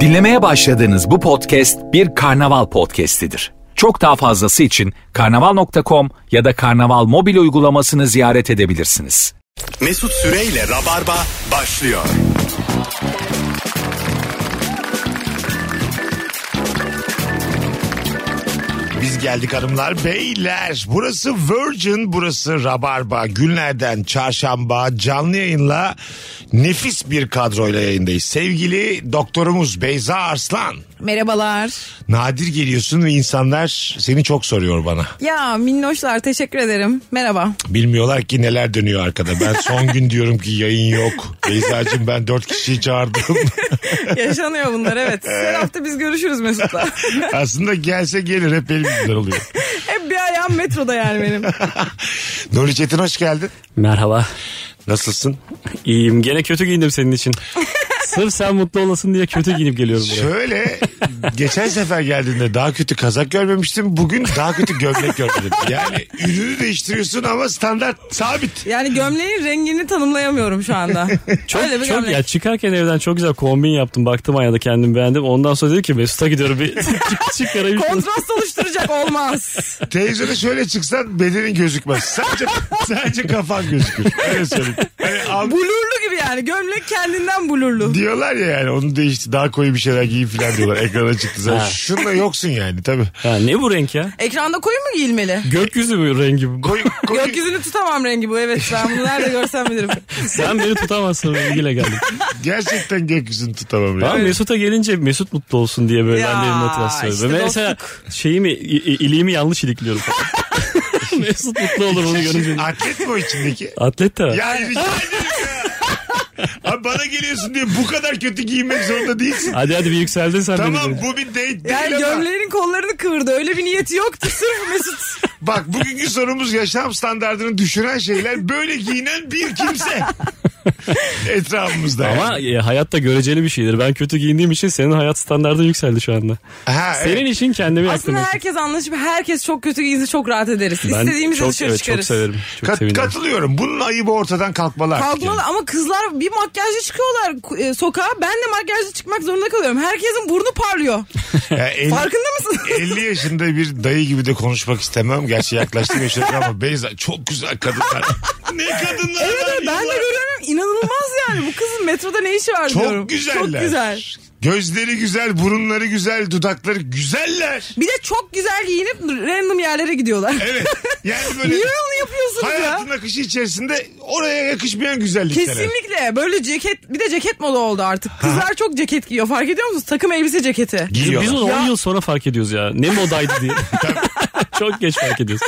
Dinlemeye başladığınız bu podcast bir karnaval podcastidir. Çok daha fazlası için karnaval.com ya da karnaval mobil uygulamasını ziyaret edebilirsiniz. Mesut Süreyle Rabarba başlıyor. Biz geldik hanımlar beyler. Burası Virgin, burası Rabarba. Günlerden çarşamba canlı yayınla nefis bir kadroyla yayındayız. Sevgili doktorumuz Beyza Arslan. Merhabalar. Nadir geliyorsun ve insanlar seni çok soruyor bana. Ya minnoşlar teşekkür ederim. Merhaba. Bilmiyorlar ki neler dönüyor arkada. Ben son gün diyorum ki yayın yok. Beyza'cığım ben dört kişiyi çağırdım. Yaşanıyor bunlar evet. Her hafta biz görüşürüz Mesut'la. Aslında gelse gelir hep benim yüzümden oluyor. Hep bir ayağım metroda yani benim. Nuri Çetin hoş geldin. Merhaba. Nasılsın? İyiyim. Gene kötü giyindim senin için. Sırf sen mutlu olasın diye kötü giyinip geliyorum buraya. Şöyle geçen sefer geldiğinde daha kötü kazak görmemiştim. Bugün daha kötü gömlek gördüm. Yani ürünü değiştiriyorsun ama standart sabit. Yani gömleğin rengini tanımlayamıyorum şu anda. Çok, Öyle bir çok gömlek. ya çıkarken evden çok güzel kombin yaptım. Baktım aynada kendimi beğendim. Ondan sonra dedim ki Mesut'a gidiyorum bir çık- çıkarayım. şunu. Kontrast oluşturacak olmaz. Televizyona şöyle çıksan bedenin gözükmez. Sadece sadece kafan gözükür. Öyle söyleyeyim. Yani al- Blurlu gibi yani. Gömlek kendinden blurlu. diyorlar ya yani onu değişti daha koyu bir şeyler giyin falan diyorlar. Ekrana çıktı zaten. Ha. Şunla yoksun yani tabii. Ya ne bu renk ya? Ekranda koyu mu giyilmeli? Gökyüzü bu rengi. bu. Koyu, koyu, Gökyüzünü tutamam rengi bu evet ben bunu nerede görsem bilirim. Sen beni tutamazsın rengiyle geldim. gerçekten gökyüzünü tutamam Şey, Ama yani. Mesut'a gelince Mesut mutlu olsun diye böyle ben de Ya, motivasyon. işte Mesela şeyimi, i- i- iliğimi yanlış ilikliyorum falan. Mesut mutlu olur onu görünce. Atlet mi o içindeki? Atlet de var. Yani rica ederim ya. Abi bana geliyorsun diye bu kadar kötü giyinmek zorunda değilsin. Hadi hadi bir yükseldin sen Tamam beni. bu bir date değil Yani ama. gömleğinin kollarını kıvırdı öyle bir niyeti yoktu sırf Mesut. Bak bugünkü sorumuz yaşam standartını düşüren şeyler. Böyle giyinen bir kimse. Etrafımızda. Ama yani. e, hayat da göreceli bir şeydir. Ben kötü giyindiğim için senin hayat standartın yükseldi şu anda. Ha, evet. Senin için kendimi yaktım. Aslında herkes anlaşıp herkes çok kötü giyinse çok rahat ederiz. Ben İstediğimizi çok, dışarı evet, çok çıkarız. severim. Çok Kat- sevinirim. katılıyorum. Bunun ayıbı ortadan kalkmalı artık Kalkmalı yani. ama kızlar bir makyajlı çıkıyorlar e, sokağa. Ben de makyajlı çıkmak zorunda kalıyorum. Herkesin burnu parlıyor. Ya E, elli- Farkında mısın? 50 yaşında bir dayı gibi de konuşmak istemem. Gerçi yaklaştım yaşadık ama Beyza çok güzel kadınlar. ne kadınlar Evet, var evet, ben yıllar- de görüyorum. İnanılmaz yani. Bu kızın metroda ne işi var diyorum. Çok güzeller. Çok güzel. Gözleri güzel, burunları güzel, dudakları güzeller. Bir de çok güzel giyinip random yerlere gidiyorlar. Evet. Yani böyle Niye onu yapıyorsunuz ya? hayatın akışı içerisinde oraya yakışmayan güzellikler. Kesinlikle. Böyle ceket bir de ceket moda oldu artık. Kızlar çok ceket giyiyor. Fark ediyor musunuz? Takım elbise ceketi. Biz, Giyiyorlar. biz onu Ya. 10 yıl sonra fark ediyoruz ya. Ne modaydı diye. çok geç fark ediyoruz.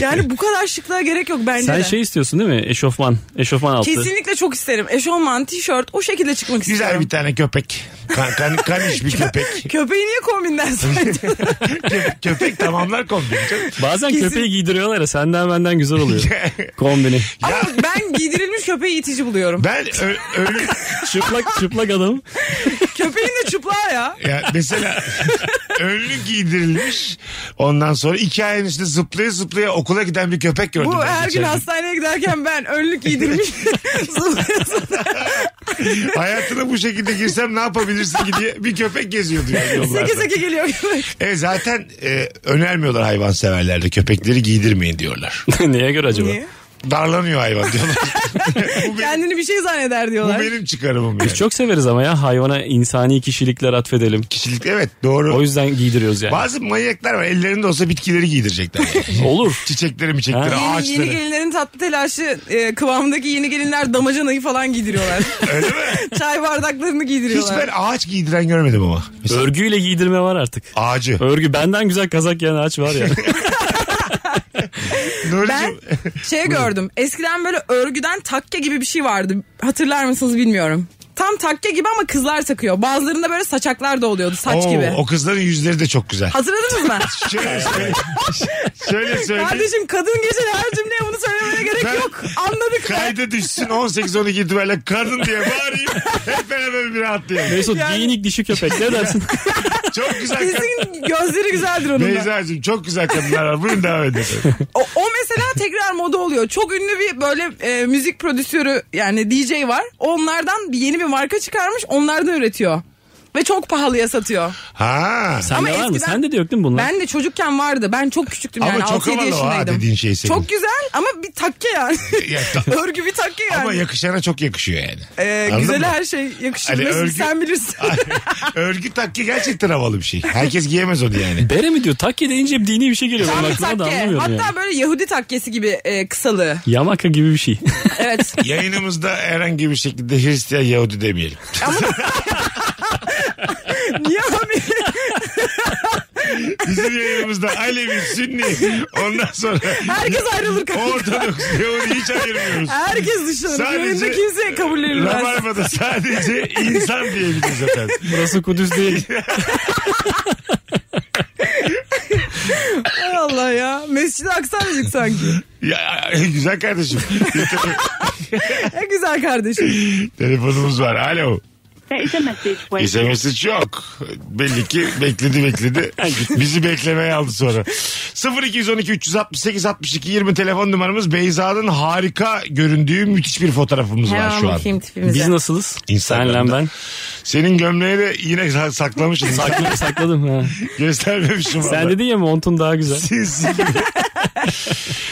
Yani bu kadar şıklığa gerek yok bence Sen de. şey istiyorsun değil mi? Eşofman. Eşofman altı. Kesinlikle çok isterim. Eşofman, tişört o şekilde çıkmak istiyorum. Güzel bir tane köpek. Kan, kan, kaniş bir köpek. Köpeği niye kombinden saydın? Kö- köpek tamamlar kombini. Bazen Kesin- köpeği giydiriyorlar ya senden benden güzel oluyor. Kombini. Ama ben giydirilmiş köpeği itici buluyorum. Ben ö- öyle Çıplak çıplak adam. Köpeğin de çıplağı ya. ya mesela önlük giydirilmiş ondan sonra iki ayın üstünde zıplaya zıplaya okula giden bir köpek gördüm. Bu ben her geçen gün hastaneye giderken ben önlük giydirmiş. Hayatına bu şekilde girsem ne yapabilirsin ki diye bir köpek geziyordu yani yollarda. seke seke geliyor köpek. E zaten e, önermiyorlar hayvanseverler de köpekleri giydirmeyin diyorlar. Neye göre acaba? Niye? Darlanıyor hayvan diyorlar. bu, benim, Kendini bir şey zanneder bu diyorlar. benim çıkarımım yani. Biz E, çok severiz ama ya hayvana insani kişilikler atfedelim. Kişilik evet doğru. O yüzden giydiriyoruz yani. Bazı manyaklar var ellerinde olsa bitkileri giydirecekler. yani. Olur. Çiçekleri miçekleri Ha. Yeni, yeni ağaçları. gelinlerin tatlı telaşı e, kıvamındaki yeni gelinler damacanayı falan giydiriyorlar. Öyle mi? Çay bardaklarını Hiç giydiriyorlar. ben ağaç giydiren görmedim ama. Mesela Örgüyle giydirme var artık. ağacı. Örgü benden güzel kazak giyen ağaç var ya. Ben Nuri'cim şey gördüm. Eskiden böyle örgüden takke gibi bir şey vardı. Hatırlar mısınız bilmiyorum. Tam takke gibi ama kızlar takıyor. Bazılarında böyle saçaklar da oluyordu saç Oo, gibi. o kızların yüzleri de çok güzel. Hatırladınız mı? Şöyle söyleyeyim. Şöyle söyleyeyim. Kardeşim kadın geçen her cümleye bunu söylemeye gerek Ben- yok. Anladık. be. Kayda düşsün 18-12 itibariyle kadın diye bağırayım. Hep beraber bir rahatlayalım. Mesut Yani- giyinik dişi köpek ne dersin? Çok güzel kadın. Kesin gözleri güzeldir onun da. Beyza'cığım çok güzel kadınlar var. Buyurun devam edin. O, o mesela tekrar moda oluyor. Çok ünlü bir böyle e, müzik prodüsörü yani DJ var. Onlardan bir yeni bir marka çıkarmış. Onlardan üretiyor. Ve çok pahalıya satıyor. Ha. Sende Ama var mı? eskiden- Sende de yok değil mi bunlar? Ben de çocukken vardı. Ben çok küçüktüm Ama yani çok 6-7 havalı o ha yaşındaydım. dediğin şey senin. Çok güzel ama bir takke yani. Ya ta- örgü bir takke yani. Ama yakışana çok yakışıyor yani. Ee, Anladın güzel mı? her şey yakışır. Hani Mesut, örgü- Sen bilirsin. Örgü takki gerçekten havalı bir şey. Herkes giyemez onu yani. Bere mi diyor? Takke deyince bir dini bir şey geliyor. Tam benim bir aklıma da takke. anlamıyorum Hatta yani. böyle Yahudi takkesi gibi e, kısalığı. Yamaka gibi bir şey. Evet. Yayınımızda herhangi bir şekilde Hristiyan Yahudi demeyelim. Niye abi? Bizim yayınımızda Alevi, Sünni ondan sonra Herkes ayrılır kanka. Ortodoks Yahudi hiç ayırmıyoruz. Herkes dışarı. Sadece- Yayında kimse kabul edilmez. Rabarba'da sadece insan diyebiliriz efendim. Burası Kudüs değil. Hay Allah ya. Mescid-i Aksa dedik sanki. Ya, e, güzel kardeşim. Bir tele- Ne güzel kardeşim. Telefonumuz var. Alo. There is a message waiting. SMS'i çok. Belli ki bekledi bekledi. Bizi beklemeye aldı sonra. 0212 368 62 20 telefon numaramız Beyza'nın harika göründüğü müthiş bir fotoğrafımız var şu an. tipimize. Biz nasılız? Instagram'da. Senle ben. Senin gömleği de yine sa- saklamışsın. Sakladım, sakladım. Ha. Göstermemişim. Sen valla. dedin ya montun daha güzel. Sinsi gibi.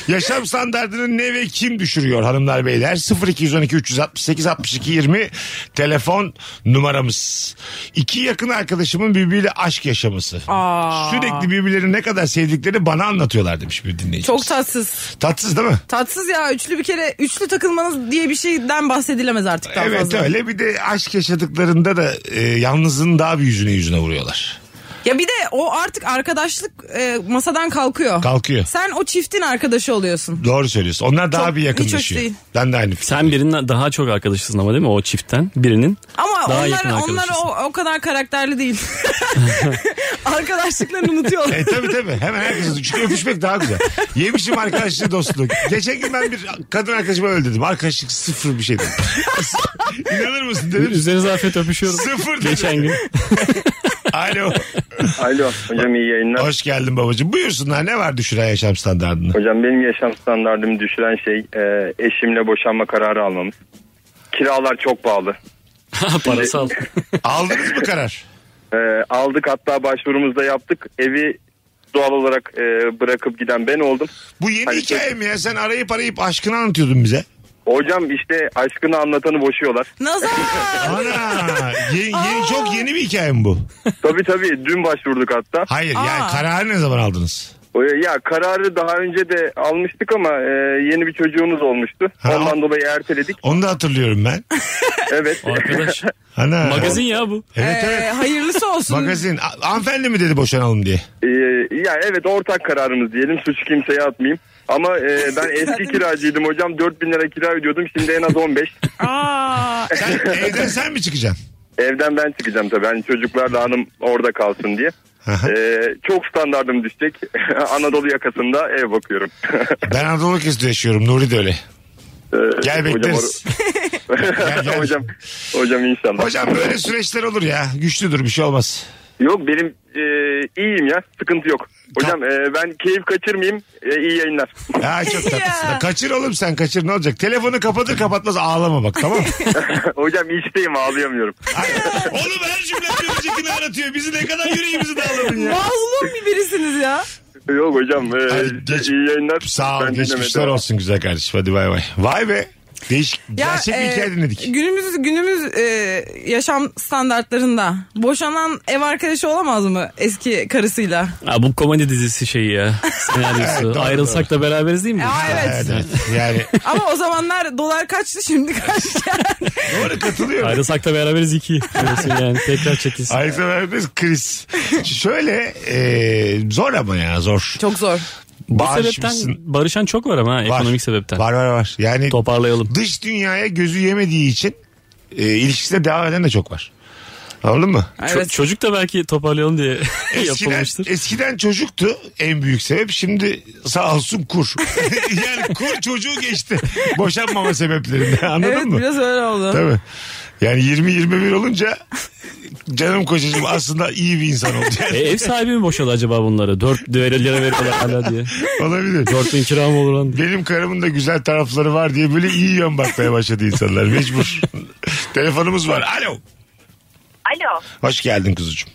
Yaşam standartını ne ve kim düşürüyor hanımlar beyler? 0212 368 62 20 telefon numaramız. İki yakın arkadaşımın birbiriyle aşk yaşaması. Aa. Sürekli birbirlerini ne kadar sevdiklerini bana anlatıyorlar demiş bir dinleyici. Çok tatsız. Tatsız değil mi? Tatsız ya. Üçlü bir kere üçlü takılmanız diye bir şeyden bahsedilemez artık daha evet fazla. öyle bir de aşk yaşadıklarında da e, yalnızlığın daha bir yüzüne yüzüne vuruyorlar. Ya bir de o artık arkadaşlık e, masadan kalkıyor. Kalkıyor. Sen o çiftin arkadaşı oluyorsun. Doğru söylüyorsun. Onlar daha Çok- bir hiç hoş yakınlaşıyor. değil. Ben de aynı fikir. Sen birinin daha çok arkadaşısın ama değil mi? O çiftten birinin. Ama Daha yakın onlar onlar arkadaşısın. o, o kadar karakterli değil. Arkadaşlıklarını unutuyorlar. E tabii tabii. Hemen herkes çünkü öpüşmek daha güzel. Yemişim arkadaşlığı dostluğu. Geçen gün ben bir kadın arkadaşıma öyle dedim. Arkadaşlık sıfır bir şey dedim. İnanır mısın dedim. Üzerinize afiyet öpüşüyorum. Sıfır dedi. Geçen gün. Alo. Alo hocam iyi yayınlar. Hoş geldin babacığım. Buyursunlar ne var düşüren yaşam standartını? Hocam benim yaşam standartımı düşüren şey e, eşimle boşanma kararı almamız. Kiralar çok pahalı. Ha, Parasal. Aldınız mı karar? E, aldık hatta başvurumuzda yaptık. Evi doğal olarak e, bırakıp giden ben oldum. Bu yeni Hani- hikaye mi ya? Sen arayıp arayıp aşkını anlatıyordun bize. Hocam işte aşkını anlatanı boşuyorlar. Nazar. Ana. Ye- ye- çok yeni bir hikaye mi bu? Tabii tabii dün başvurduk hatta. Hayır yani Aa. kararı ne zaman aldınız? E, Ya kararı daha önce de almıştık ama e, yeni bir çocuğumuz olmuştu. Ha. Ondan dolayı erteledik. Onu da hatırlıyorum ben. Evet. Arkadaş. Ana. Magazin ya bu. Evet Ee, evet. hayırlısı olsun. Magazin. A- Hanımefendi mi dedi boşanalım diye? Ee, ya evet ortak kararımız diyelim suçu kimseye atmayayım. Ama e, ben eski kiracıydım hocam 4000 lira kira ödüyordum şimdi en az 15. Aa, Sen, evden sen mi çıkacaksın? Evden ben çıkacağım tabii hani çocuklar da hanım orada kalsın diye. Aha. Ee, çok standardım düşecek Anadolu yakasında ev bakıyorum. Ben Anadolu kesimde yaşıyorum. Nuri de öyle. Ee, Gel bekleriz. Gel, gel. Hocam, or- hocam, hocam inşallah. Hocam böyle süreçler olur ya. Güçlüdür bir şey olmaz. Yok benim e, iyiyim ya sıkıntı yok. Hocam e, ben keyif kaçırmayayım E, iyi yayınlar. Ha çok tatlısın. Ya. kaçır oğlum sen kaçır ne olacak? Telefonu kapatır kapatmaz ağlama bak tamam mı? hocam işteyim ağlayamıyorum. Hayır. oğlum her cümle bir öncekini aratıyor. Bizi ne kadar yüreğimizi dağıladın ya. mazlum bir birisiniz ya. Yok hocam e, Hadi geç- iyi yayınlar. Sağ ol Ben geçmişler dinlemedim. olsun güzel kardeşim. Hadi bay bay. Vay be. Değişik. Ya, gerçek bir e, hikaye dinledik. Günümüz günümüz e, yaşam standartlarında boşanan ev arkadaşı olamaz mı eski karısıyla? Ha, bu komedi dizisi şeyi ya. Senaryosu. Evet, doğru, Ayrılsak da beraberiz değil mi? Aa, evet. Evet, evet. Yani Ama o zamanlar dolar kaçtı şimdi kaç? doğru katılıyorum. Ayrılsak da beraberiz iki. Diyorsun yani. Tekrar çekilsin. Ayrıca vermez kriz. Şöyle e, zor ama ya zor. Çok zor. Bu sebepten Bağışmışsın. barışan çok var ama ha, Var. ekonomik sebepten. Var var var. Yani Toparlayalım. dış dünyaya gözü yemediği için e, ilişkisine devam eden de çok var. Anladın mı? Ço- Evet. Çocuk da belki toparlayalım diye Eskiden, yapılmıştır. eskiden çocuktu en büyük sebep. Şimdi sağ olsun kur. yani kur çocuğu geçti. Boşanmama sebeplerinden anladın evet mı? biraz öyle oldu. Tabii. Yani 20-21 olunca Canım kocacığım aslında iyi bir insan oldu. E, ev sahibi mi boşadı acaba bunları? 4 lira veriyorlar hala diye. Olabilir. 4 bin kira mı olur lan? diye. Benim karımın da güzel tarafları var diye böyle iyi yön bakmaya başladı insanlar mecbur. Telefonumuz var. Alo. Alo, Hoş geldin kuzucuğum.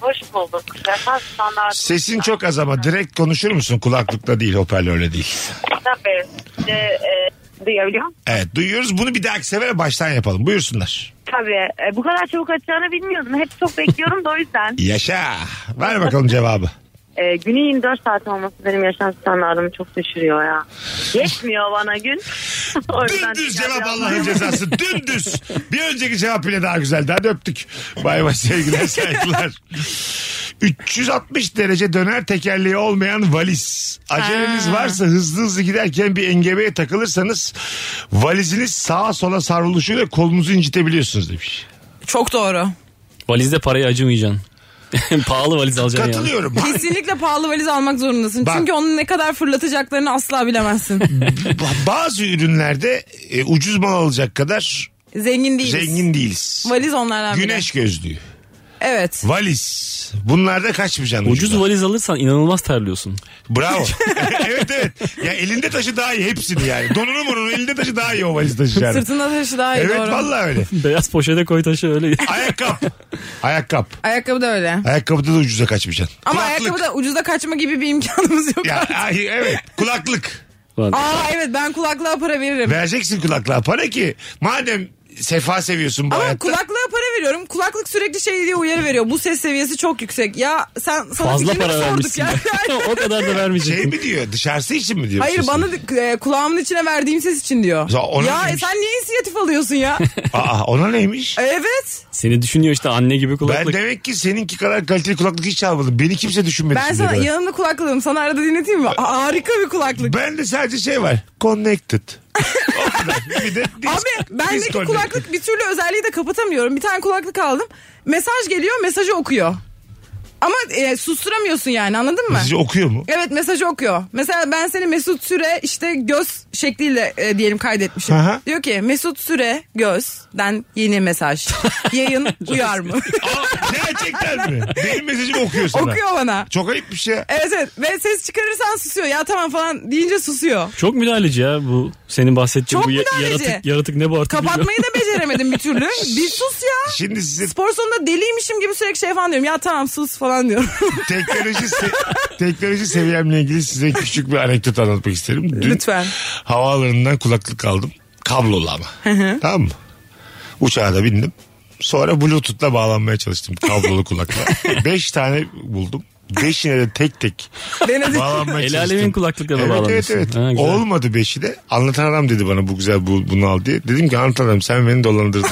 hoş bulduk. Refah standartı. Sesin çok az ama direkt konuşur musun? Kulaklıkta değil hoparlörle değil. Tabii. Şimdi, e, duyabiliyor musun? Evet duyuyoruz. Bunu bir dahaki sefere baştan yapalım. Buyursunlar. Tabii. E, bu kadar çabuk açacağını bilmiyordum. Hep çok bekliyorum da o yüzden. Yaşa. Ver bakalım cevabı. E, günü 24 saat olması benim yaşam standartımı çok düşürüyor ya. Geçmiyor bana gün. O yüzden Dümdüz tekrar cevap yazdım. Allah'ın cezası. Dümdüz. Bir önceki cevap bile daha güzeldi. Hadi öptük. Bay bay sevgiler saygılar. 360 derece döner tekerleği olmayan valiz. Aceleniz varsa hızlı hızlı giderken bir engebeye takılırsanız valiziniz sağa sola savruluşuyla kolunuzu incitebiliyorsunuz demiş. Çok doğru. Valizde parayı acımayacaksın. Pahalı valiz alacaksın yani. Katılıyorum. Kesinlikle pahalı valiz almak zorundasın. Bak. Çünkü onu ne kadar fırlatacaklarını asla bilemezsin. Ba- Bazı ürünlerde e, ucuz mal alacak kadar Zengin değiliz. zengin değiliz. Valiz onlardan biri. Güneş gözlüğü, Evet. valiz. Bunlarda kaçmayacaksın. Ucuz ucuza. valiz alırsan inanılmaz terliyorsun. Bravo. evet evet. Ya elinde taşı daha iyi hepsini yani. Donunu murunu elinde taşı daha iyi o valiz taşıyacağını. Sırtında taşı daha iyi Evet doğru. vallahi öyle. Beyaz poşete koy taşı öyle. Ayakkabı. Ayakkabı. Ayakkabı da öyle. Ayakkabıda da ucuza kaçmayacaksın. Ama Kulaklık. ayakkabı da ucuza kaçma gibi bir imkanımız yok. Ya, ay, evet kulaklık. Lan. Aa evet ben kulaklığa para veririm. Vereceksin kulaklığa para ki madem sefa seviyorsun bu Ama hayatta. kulaklığa para veriyorum. Kulaklık sürekli şey diye uyarı veriyor. Bu ses seviyesi çok yüksek. Ya sen sana Fazla fikrini para mi sorduk vermişsin. ya. o kadar da Şey vermeyecektin. mi diyor dışarısı için mi diyor? Hayır sesi? bana da- e, kulağımın içine verdiğim ses için diyor. Ya ona Ya e, neymiş? sen niye inisiyatif alıyorsun ya? Aa ona neymiş? evet. Seni düşünüyor işte anne gibi kulaklık. Ben demek ki seninki kadar kaliteli kulaklık hiç almadım. Beni kimse düşünmedi. Ben şimdiye sana kadar. yanımda kulaklığım. Sana arada dinleteyim mi? Ha- Harika bir kulaklık. Ben de sadece şey var. Connected. O kadar. bir de dis- Abi bendeki disconnected. kulaklık bir türlü özelliği de kapatamıyorum. Bir tane kulaklık aldım. Mesaj geliyor mesajı okuyor. Ama e, susturamıyorsun yani anladın mı? Sizce okuyor mu? Evet mesajı okuyor. Mesela ben seni Mesut Süre işte göz şekliyle e, diyelim kaydetmişim. Aha. Diyor ki Mesut Süre gözden yeni mesaj. Yayın uyar mı? Aa, gerçekten mi? Benim mesajımı okuyor sana. okuyor bana. Çok ayıp bir şey. ya. Evet evet ve ses çıkarırsan susuyor. Ya tamam falan deyince susuyor. Çok müdahaleci ya bu senin bahsettiğin Çok bu ya- müdahaleci. yaratık, yaratık ne bu artık bilmiyorum. Kapatmayı da beceremedim bir türlü. Bir sus ya. Şimdi size Spor salonunda deliymişim gibi sürekli şey falan diyorum. Ya tamam sus falan diyorum. teknoloji se- teknoloji seviyemle ilgili size küçük bir anekdot anlatmak isterim. Dün Lütfen. havaalanından kulaklık aldım. Kablolu ama. tamam mı? Uçağa da bindim. Sonra Bluetooth'la bağlanmaya çalıştım kablolu kulakla. Beş tane buldum. Beşine de tek tek Denedim. bağlanmaya El çalıştım. alemin kulaklıkla da evet, evet bağlanmışsın. evet Ha, güzel. Olmadı beşi de. Anlatan adam dedi bana bu güzel bu, bunu al diye. Dedim ki anlatan adam sen beni dolandırdın.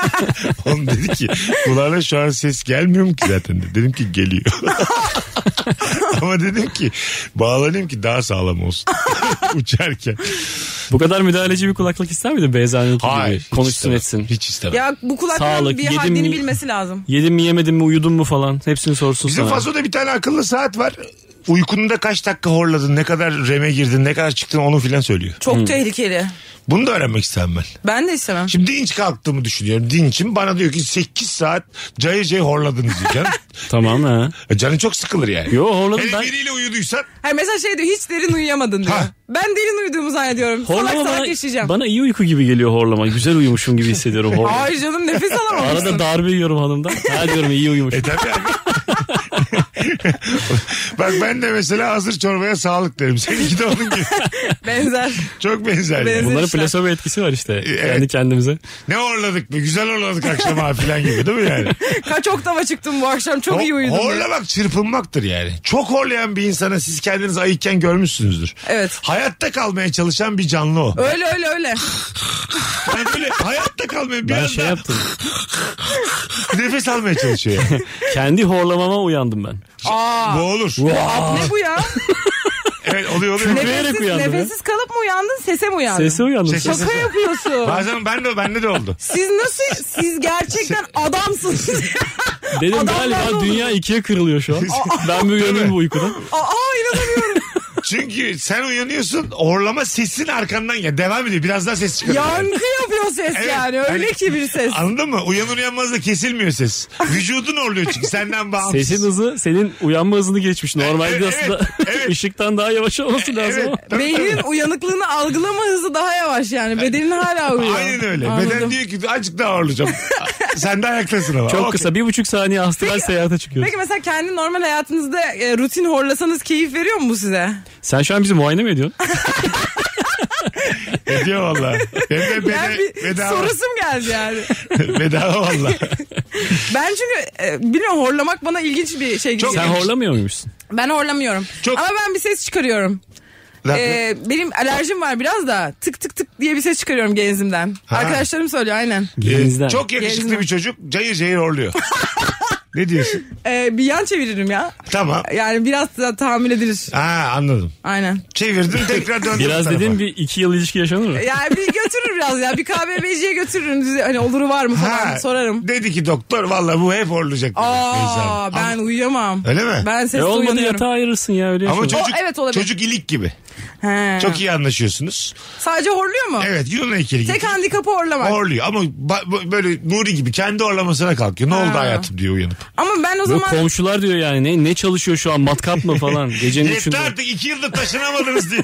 Oğlum dedi ki kulağına şu an ses gelmiyor mu ki zaten? dedi. Dedim ki geliyor. Ama dedim ki bağlanayım ki daha sağlam olsun. Uçarken. Bu kadar müdahaleci bir kulaklık ister miydin Beyza'nın gibi? hiç Konuşsun istemem. etsin. Hiç istemem. Ya bu kulaklığın Sağlık, bir yedim haddini mi? bilmesi lazım. Yedin mi yemedin mi uyudun mu falan hepsini sorsun Bizim sana. fasoda bir tane akıllı saat var. Uykunda kaç dakika horladın, ne kadar reme girdin, ne kadar çıktın onu filan söylüyor. Çok tehlikeli. Bunu da öğrenmek istemem ben. Ben de istemem. Şimdi dinç kalktığımı düşünüyorum. Dinçim bana diyor ki 8 saat cayır cayır horladınız diyor. Canım, Tamam ha. E, canı çok sıkılır yani. Yo horladım Hele ben. biriyle uyuduysan Hayır mesela şey diyor hiç derin uyuyamadın diyor. Ha. Ben derin uyuduğumu zannediyorum. salak Horlama salak bana, yaşayacağım. bana iyi uyku gibi geliyor horlama. Güzel uyumuşum gibi hissediyorum horlama. Hayır canım nefes alamamışsın. Arada darbe yiyorum hanımdan. Ha diyorum iyi e uyumuşum. tabii abi. Bak ben de mesela hazır çorbaya sağlık derim. Seninki de onun gibi. Benzer. Çok benzer. yani. Benzer. Bunların işte. plasebo etkisi var işte. Evet. Kendi kendimize. Ne horladık mı? Güzel horladık akşam abi falan gibi değil mi yani? Kaç oktava çıktım bu akşam çok iyi uyudum. Ho- diye. Horlamak çırpınmaktır yani. Çok horlayan bir insana siz kendiniz ayıkken görmüşsünüzdür. Evet. Hayatta kalmaya çalışan bir canlı o. Öyle öyle öyle. Yani böyle hayatta kalmaya bir Ben anda şey yaptım. nefes almaya çalışıyor. Yani. Kendi horlamama uyandım ben. Aa. Bu olur. Ne bu ya? Evet oluyor oluyor. Yürüyerek nefessiz, uyandım ya. nefessiz kalıp mı uyandın sese mi uyandın? Sese uyandım. Sese- Şaka yapıyorsun. Bazen ben de bende de oldu. Siz nasıl siz gerçekten Şey- adamsınız. Dedim Adamlar galiba oldu. dünya ikiye kırılıyor şu an. ben bir uyanayım bu uykudan. Aa inanamıyorum. Çünkü sen uyanıyorsun horlama sesin arkandan ya devam ediyor. Biraz daha ses çıkıyor. Yankı yapıyor ses Evet, yani öyle hani- ki bir ses. Anladın mı? Uyanır uyanmaz da kesilmiyor ses. Vücudun horluyor çünkü senden bağımsız. Sesin hızı senin uyanma hızını geçmiş. Normalde Evet, aslında evet. ışıktan daha yavaş olması lazım Evet. ama. Tabii, Beynin uyanıklığını algılama hızı daha yavaş yani. Bedenin hala uyuyor. Aynen öyle. Beden Anladım. diyor ki azıcık daha horlayacağım. Sen de ayaktasın ama. Çok Okey. kısa bir buçuk saniye astral seyahate çıkıyorsun. Peki mesela kendi normal hayatınızda e, rutin horlasanız keyif veriyor mu bu size? Sen şu an bizi muayene mi ediyorsun? Ediyor valla. Hem de bede, Yani bir bedava. sorusum geldi yani. bedava valla. ben çünkü e, bilmiyorum horlamak bana ilginç bir şey Çok geliyor. Sen horlamıyor muymuşsun? Ben horlamıyorum. Çok- Ama ben bir ses çıkarıyorum. Ee, benim alerjim var biraz da tık tık tık diye bir ses çıkarıyorum genzimden. Ha. Arkadaşlarım söylüyor aynen. Genizden. Ee, çok yakışıklı Gelinizden. bir çocuk cayır cayır horluyor. ne diyorsun? Ee, bir yan çeviririm ya. Tamam. Yani biraz da tahammül edilir. Ha anladım. Aynen. Çevirdin tekrar döndün. bu Biraz tarafa. dediğin bir iki yıl ilişki yaşanır E, mı? E, Yani bir götürür biraz ya. Bir KBB'ciye götürürüm. Düze- Hani oluru var mı falan Ha, sorarım. Dedi ki doktor valla bu hep horlayacak. dedi Beyza Aa Hanım. ben Ama- uyuyamam. Öyle mi? Ben sesle E olmadı uyanıyorum. yatağa ayırırsın ya öyle ama yaşa. çocuk, O, evet, olabilir. çocuk ilik gibi. He. Çok iyi anlaşıyorsunuz. Sadece horluyor mu? Evet Yunan ikili gibi. Tek handikapı horlamak. Horluyor ama ba- bu- böyle Nuri gibi kendi horlamasına kalkıyor. Ne oldu Ha. hayatım diyor uyanıp. Ama ben o Böyle zaman komşular diyor yani ne ne çalışıyor şu an matkap mı falan gecenin Yeter üçünde. artık iki yıldır taşınamadınız diye.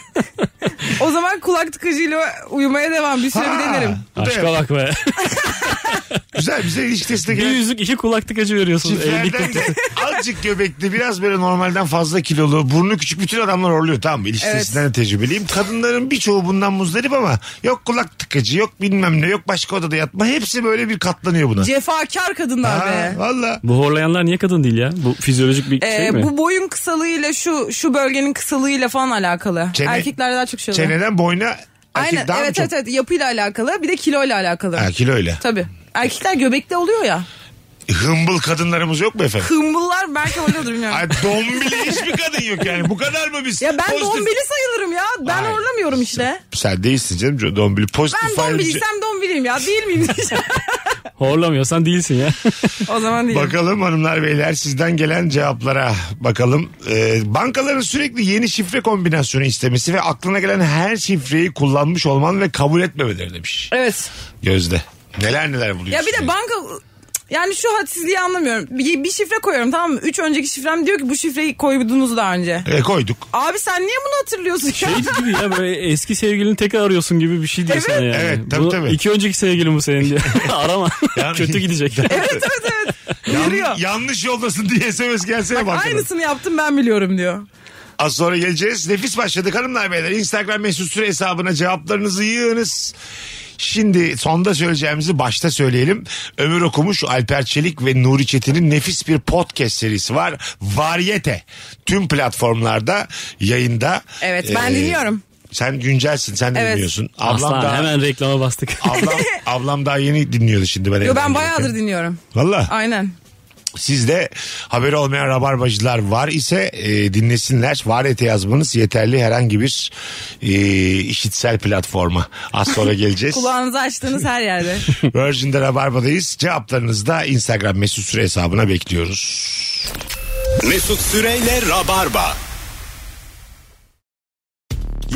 o zaman kulak tıkacıyla uyumaya devam. Bir süre bir Ha. denerim. Bu da Aşka bak be. Güzel bize ilişkisine bir gelen yüzük iki kulaklık acı veriyorsunuz. Evlilik çiftlerden de azıcık göbekli biraz böyle normalden fazla kilolu burnu küçük bütün adamlar horluyor tamam mı? İlişkisinden de tecrübeliyim. Kadınların birçoğu bundan muzdarip ama yok kulak tıkacı yok bilmem ne yok başka odada yatma hepsi böyle bir katlanıyor buna. Cefakar kadınlar Ha, be. valla. Bu horlayanlar niye kadın değil ya? Bu fizyolojik bir E, Ee, şey mi? bu boyun kısalığıyla şu şu bölgenin kısalığıyla falan alakalı. Çene- Erkeklerde daha çok şey oluyor. Çeneden boyna erkek Aynen daha mı evet çok? evet evet yapıyla alakalı bir de kiloyla alakalı. Ha, kilo öyle. Tabii. Erkekler göbekte oluyor ya. Hımbıl kadınlarımız yok mu efendim? Kımbıllar belki oluyordur bilmiyorum. Ay dombili hiçbir kadın yok yani. Bu kadar mı biz? ya ben pozitif- dombili sayılırım ya. Ben Ay. horlamıyorum işte. Sen değilsin canım dombili. Pozitif Ben ayrımcı- dombiliysem dombiliyim ya. Değil miyim? diyeceğim. Horlamıyorsan değilsin ya. o zaman değil. Bakalım hanımlar beyler sizden gelen cevaplara bakalım. Ee, bankaların sürekli yeni şifre kombinasyonu istemesi ve aklına gelen her şifreyi kullanmış olman ve kabul etmemeleri demiş. Evet. Gözde. Neler neler Ya buluyorsun. bir de yani. banka yani şu hadsizliği anlamıyorum. Bir, bir şifre koyuyorum tamam mı? Üç önceki şifrem diyor ki bu şifreyi koydunuz daha önce. E, koyduk. Abi sen niye bunu hatırlıyorsun ya? Şey gibi ya böyle eski sevgilini tekrar arıyorsun gibi bir şey diyor Evet. sana yani. Evet, tabii, bu, tabii. İki önceki sevgilin bu senin diye. Arama. Yani- Kötü gidecek. evet evet evet. Yan- Uyarıyor. yanlış yoldasın diye SMS gelsene bankadan. Aynısını yaptım ben biliyorum diyor. Az sonra geleceğiz. Nefis başladık hanımlar beyler. Instagram mesut süre hesabına cevaplarınızı yığınız. Şimdi sonda söyleyeceğimizi başta söyleyelim. Ömür Okumuş, Alper Çelik ve Nuri Çetin'in nefis bir podcast serisi var. Varyete. Tüm platformlarda yayında. Ee, Evet, ben dinliyorum. Sen güncelsin sen de Evet. dinliyorsun. Ablam Aslan daha, hemen reklama bastık. ablam, ablam daha yeni dinliyordu şimdi. Ben Yo ben bayağıdır dinliyorum. Valla. Aynen. Sizde haberi olmayan rabarbacılar var ise e, dinlesinler. Var ete yazmanız yeterli herhangi bir e, işitsel platforma. Az sonra geleceğiz. Kulağınızı açtığınız her yerde. Virgin'de Rabarba'dayız. Cevaplarınızı da Instagram mesut süre hesabına bekliyoruz. Mesut Süreyle Rabarba.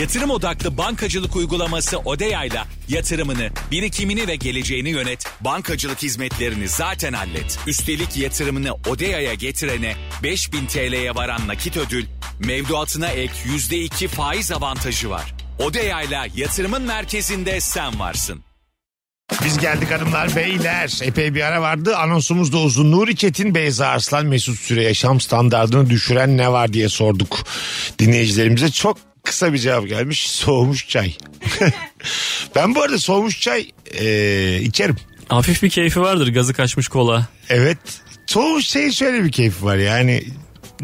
Yatırım odaklı bankacılık uygulaması Odeya'yla yatırımını, birikimini ve geleceğini yönet. Bankacılık hizmetlerini zaten hallet. Üstelik yatırımını Odeya'ya getirene 5000 TL'ye varan nakit ödül, mevduatına ek %2 faiz avantajı var. Odeya'yla yatırımın merkezinde sen varsın. Biz geldik hanımlar beyler. Epey bir ara vardı. Anonsumuz da uzun. Nuri Çetin, Beyza Arslan, Mesut Süre yaşam standartını düşüren ne var diye sorduk dinleyicilerimize. Çok kısa bir cevap gelmiş. Soğumuş çay. ben bu arada soğumuş çay e, içerim. Hafif bir keyfi vardır gazı kaçmış kola. Evet. Soğumuş çayın şöyle bir keyfi var yani.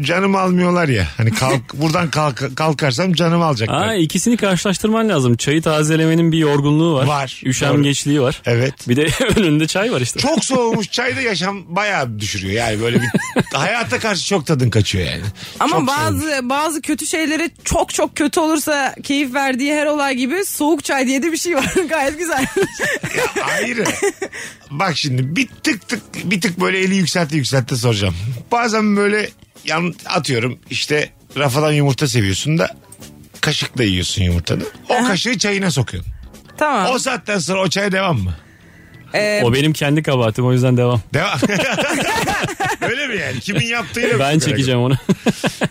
Canım almıyorlar ya. Hani kalk, buradan kalk, kalkarsam canım alacaklar. Aa, ikisini karşılaştırman lazım. Çayı tazelemenin bir yorgunluğu var. Var, Üşengeçliği var. Evet. Bir de önünde çay var işte. Çok soğumuş çayda yaşam bayağı düşürüyor. Yani böyle bir hayata karşı çok tadın kaçıyor yani. şey Ama Çok soğumuş. bazı bazı kötü şeylere çok çok kötü olursa keyif verdiği her olay gibi soğuk çay diye de bir şey var. Gayet güzel. Ayrı. Bak şimdi bir tık tık bir tık böyle eli yükseltti yükseltti soracağım. Bazen böyle yan atıyorum işte rafadan yumurta seviyorsun da kaşıkla yiyorsun yumurtanı. O kaşığı çayına sokuyorsun. Tamam. O saatten sonra o çaya devam mı? Ee, O benim kendi kabahatim o yüzden devam. Devam. Öyle mi yani? Kimin yaptığıyla Ben çekeceğim onu.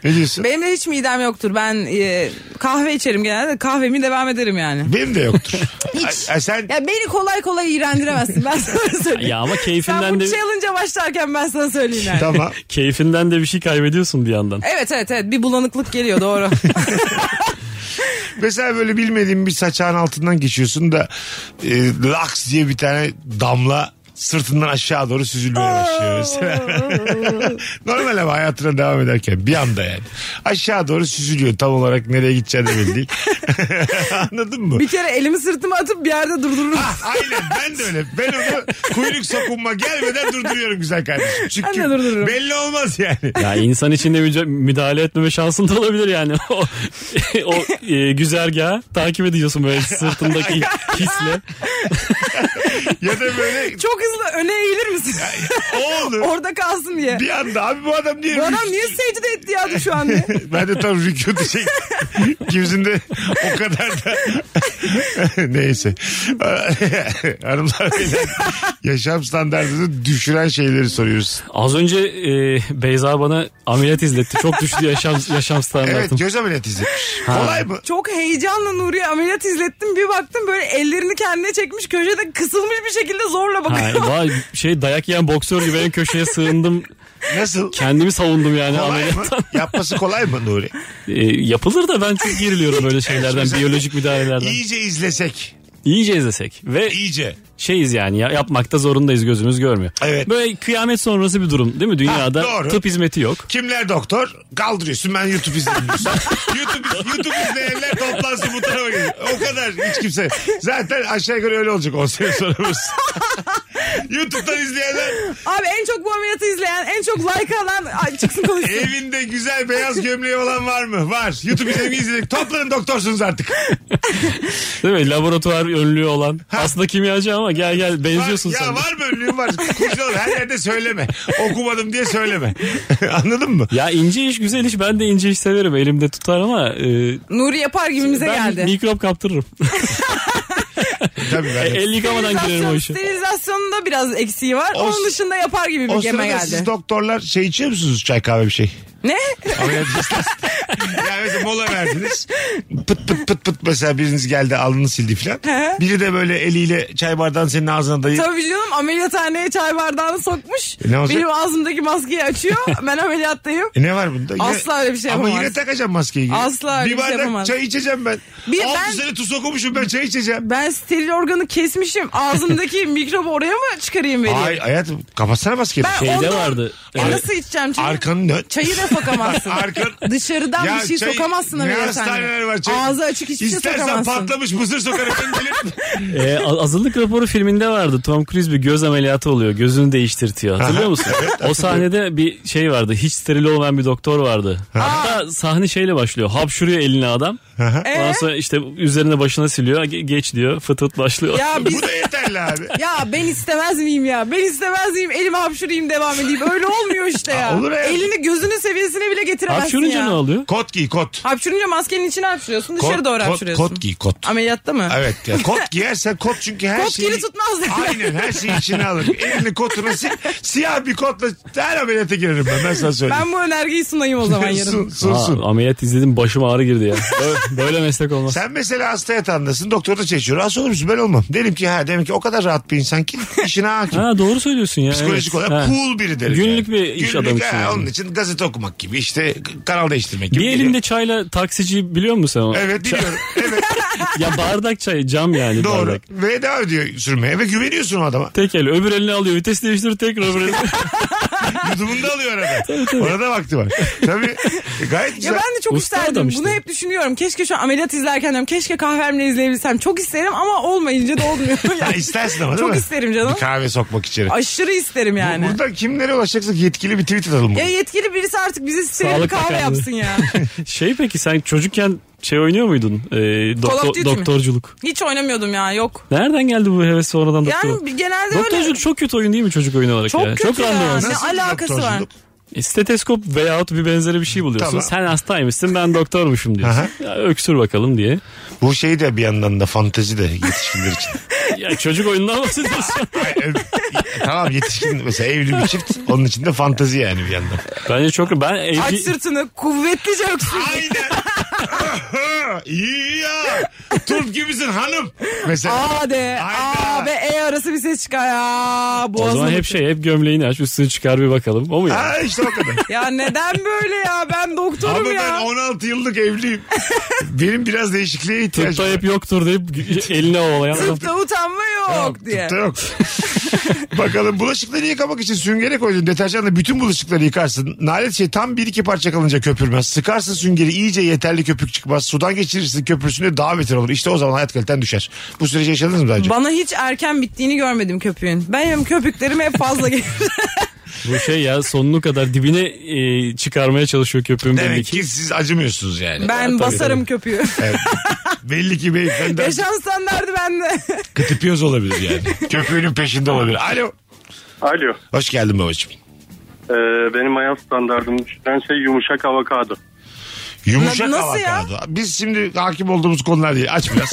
Ne diyorsun? benim de hiç midem yoktur. Ben e, kahve içerim genelde. Kahvemi devam ederim yani. Benim de yoktur. Ay- ay sen Ya beni kolay kolay iğrendiremezsin. Ben sana söyleyeyim. ya ama Sen bu keyfinden de challenge'a başlarken ben sana söyleyeyim yani. tamam. keyfinden de bir şey kaybediyorsun bir yandan. Evet evet evet bir bulanıklık geliyor doğru. Mesela böyle bilmediğin bir saçağın altından geçiyorsun da e, laks diye bir tane damla sırtından aşağı doğru süzülmeye başlıyor mesela. Normal ama hayatına devam ederken bir anda yani. Aşağı doğru süzülüyor tam olarak nereye gideceğini de belli değil. Anladın mı? bir kere elimi sırtıma atıp bir yerde durdururum. Ah, Aynen ben de öyle. Ben onu kuyruk sokunma gelmeden durduruyorum güzel kardeşim. Çünkü Ben de durdururum. belli olmaz yani. Ya insan içinde müca- müdahale etmeme şansın da olabilir yani. O, o e, güzergahı takip ediyorsun böyle sırtındaki hisle. Ya da böyle Çok hızlı öne eğilir misin? o olur. Orada kalsın diye. Bir anda abi bu adam niye Bu adam niye secde etti ya şu an diye. ben de tam rükû diyecek. Kimsin de o kadar da neyse. Hanımlar beyler yaşam standartını düşüren şeyleri soruyoruz. Az önce e, Beyza bana ameliyat izletti. Çok düştü yaşam yaşam Evet standartım. göz ameliyatı izletmiş. Kolay mı? Çok heyecanla Nuri'ye ameliyat izlettim. Bir baktım böyle ellerini kendine çekmiş köşede kısılmış bir şekilde zorla Ha, bakıyor. vay, şey dayak yiyen boksör gibi en köşeye sığındım. Nasıl? Kendimi savundum yani Kolay mı? ameliyattan. Yapması kolay mı Nuri? E, yapılır da ben çok geriliyorum böyle şeylerden, biyolojik müdahalelerden. İyice izlesek. İyice izlesek ve İyice. şeyiz yani ya, yapmakta zorundayız gözümüz görmüyor. Evet. Böyle kıyamet sonrası bir durum değil mi? Dünyada Ha, doğru. tıp hizmeti yok. Kimler doktor? Kaldırıyorsun ben YouTube izledim. diyorsun. YouTube, YouTube izleyenler toplansın bu tarafa geliyor. O kadar hiç kimse. Zaten aşağı yukarı öyle olacak 10 sene sonra. burası. YouTube'dan izleyenler Abi en çok bu ameliyatı izleyen, en çok like alan Ay, çıksın konuşsun. Evinde güzel beyaz gömleği olan var mı? Var. YouTube izlemeyi izledik. Toplanın doktorsunuz artık. Değil mi? Laboratuvar önlüğü olan. Aslında kimyacı ama gel gel Var, benziyorsun ya sen. de. var mı önlüğün var. Kurcalar her yerde söyleme. Okumadım diye söyleme. Anladın mı? Ya ince iş güzel iş ben de ince iş severim elimde tutar ama e, Nuri yapar gibimize ben geldi. mikrop kaptırırım. Tabii ben. El yıkamadan girerim o işe. Sterilizasyonunda biraz eksiği var. O s- Onun dışında yapar gibi E, O bir geme sırada geldi. siz doktorlar şey içiyor musunuz çay kahve bir şey? ne? Ameliyat esnasında. yani mesela mola verdiniz. Pıt pıt pıt pıt mesela biriniz geldi alnını sildi falan. Biri de böyle eliyle çay bardağını senin ağzına dayı. Tabii canım ameliyathaneye çay bardağını sokmuş. E, ne olacak? Benim ağzımdaki maskeyi açıyor. ben ameliyattayım. E ne var bunda? Yine- Asla öyle bir şey Ama yapamaz. yine takacağım maskeyi. geri. Asla öyle bir bir şey bardak yapamaz. çay içeceğim ben. Bir Altı ben- sene tuz okumuşum ben çay içeceğim. Ben steril organı kesmişim. Ağzımdaki mikrobu oraya mı çıkarayım vereyim? Ay hayatım kapatsana maskeyi. Şey, Ben Şeyde ondan vardı, E, evet. Nasıl içeceğim çayı? Arkanı dön. Çayı da sokamazsın. Arkan- Dışarıdan Ya bir şey çayı- sokamazsın Ne ameliyathane. hastaneler var çayı. Ağzı açık hiçbir şey İstersen sokamazsın. patlamış mısır sokarım ben gelirim. E, a- azınlık raporu filminde vardı. Tom Cruise bir göz ameliyatı oluyor. Gözünü değiştirtiyor. Hatırlıyor musun? o sahnede bir şey vardı. Hiç steril olmayan bir doktor vardı. Hatta sahne şeyle başlıyor. Hapşuruyor eline adam. Ondan Ee? sonra işte üzerine başına siliyor. Ge- Geç diyor. Fıt fıt başlıyor. Ya biz Bu da yeterli abi. ya ben istemez miyim ya? Ben istemez miyim? Elimi hapşurayım devam edeyim. Öyle olmuyor işte ya. Aa, olur ya. Elini gözünün seviyesine bile getiremezsin Hapşurunca ya. ne oluyor? Kot giy kot. Hapşurunca maskenin içine hapşuruyorsun. Dışarı Kot- doğru kot- hapşuruyorsun. Kot giy kot. Ameliyatta mı? Evet ya kot giyersen kot çünkü her Kot şeyi... geri tutmaz dedi. Aynen her şeyi içine alır. Elini kotunu si- siyah bir kotla her ameliyata girerim ben ben sana söyleyeyim. Ben bu önergeyi sunayım o zaman yarın. Sun, sun, sun. Aa, ameliyat izledim başım ağrı girdi ya. Böyle, böyle meslek olmaz. Sen mesela hasta yatağındasın doktor da çekiyor. Hasta olur musun ben olmam. Derim ki ha demek ki o kadar rahat bir insan ki işine hakim. Ha doğru söylüyorsun ya. Psikolojik evet. olarak Ha. cool biri derim. Günlük yani. bir iş adamı için ha, yani. Onun için gazete okumak gibi işte kanal değiştirmek gibi. Bir geliyor. elimde çayla taksici biliyor musun sen? onu? Evet biliyorum. evet Ya bardak çay cam yani doğru. bardak. Ve devam ediyor sürmeye ve güveniyorsun o adama. Tek el öbür elini alıyor vites değiştirir tekrar öbür elini. Yudumunu da alıyor arada. Orada vakti var. Tabii e, gayet Ya güzel. ben de çok Usta adam isterdim. işte. Bunu hep düşünüyorum. Keşke şu an ameliyat izlerken diyorum. Keşke kahvemle izleyebilsem. Çok isterim ama olmayınca da olmuyor. Ha, Yani. istersin ama değil Çok mi? isterim canım. Bir kahve sokmak içeri. Aşırı isterim yani. Burada kimlere ulaşacaksak yetkili bir tweet atalım. bugün. Ya yetkili birisi artık bizi steril bir Sağlık kahve Bakanlığı. yapsın ya. Şey peki sen çocukken şey oynuyor muydun? Ee, doktor- Duty mi? doktorculuk. Hiç oynamıyordum ya yok. Nereden geldi bu heves sonradan doktor? Yani genelde öyle. Doktorculuk çok kötü oyun değil mi çocuk oyunu olarak Çok ya? kötü ya. randevu. Ne Nasıl bir alakası var? doktorculuk? E, Steteskop veyahut bir benzeri bir şey buluyorsun. Tamam. Sen hastaymışsın ben doktormuşum diyorsun. Ya, öksür bakalım diye. Bu şey de bir yandan da fantezi de yetişkinler için. Ya çocuk oyundan bahsediyorsun. Ö- tamam yetişkin mesela evli bir çift onun için de fantezi yani bir yandan. Bence çok ben Aç evli... sırtını kuvvetlice öksür. Aynen. İyi ya. Turp gibisin hanım. Mesela. A de. Aynen. A ve E arası bir ses çıkar. Ya, O zaman hep şey hep gömleğini aç üstünü çıkar bir bakalım. O mu ya? Ha işte o kadar. Ya neden böyle ya? Ben doktorum Ama ben ya. 16 yıllık evliyim. Benim biraz değişikliğe ihtiyacım Tıpta var. hep yoktur deyip gü- eline ovalayan adam. Tıpta utanma yok diye. Tıpta yok. Bakalım bulaşıkları yıkamak için süngere koydun. Deterjanla bütün bulaşıkları yıkarsın. Nalet şey tam bir iki parça kalınca köpürmez. Sıkarsın süngeri iyice yeterli köpük çıkmaz. Sudan geçirirsin köpürsün daha beter olur. İşte o zaman hayat kaliten düşer. Bu süreci yaşadınız mı daha önce? Bana hiç erken bittiğini görmedim köpüğün. Benim köpüklerim hep fazla gelir. Bu şey ya sonunu kadar dibine e, çıkarmaya çalışıyor köpüğün belli Demek ki. ki siz acımıyorsunuz yani. Ben basarım köpüğü. Evet. Belli ki beyefendi Yaşam standardı bende. kıtıpıyoruz olabilir yani. Köpüğünün peşinde olabilir. Alo. Alo. Hoş geldin babacığım. Ee, benim hayat standartım düşen şey yumuşak avokado. Yumuşak Na- nasıl ya? avokado. Biz şimdi hakim olduğumuz konular değil. Aç biraz.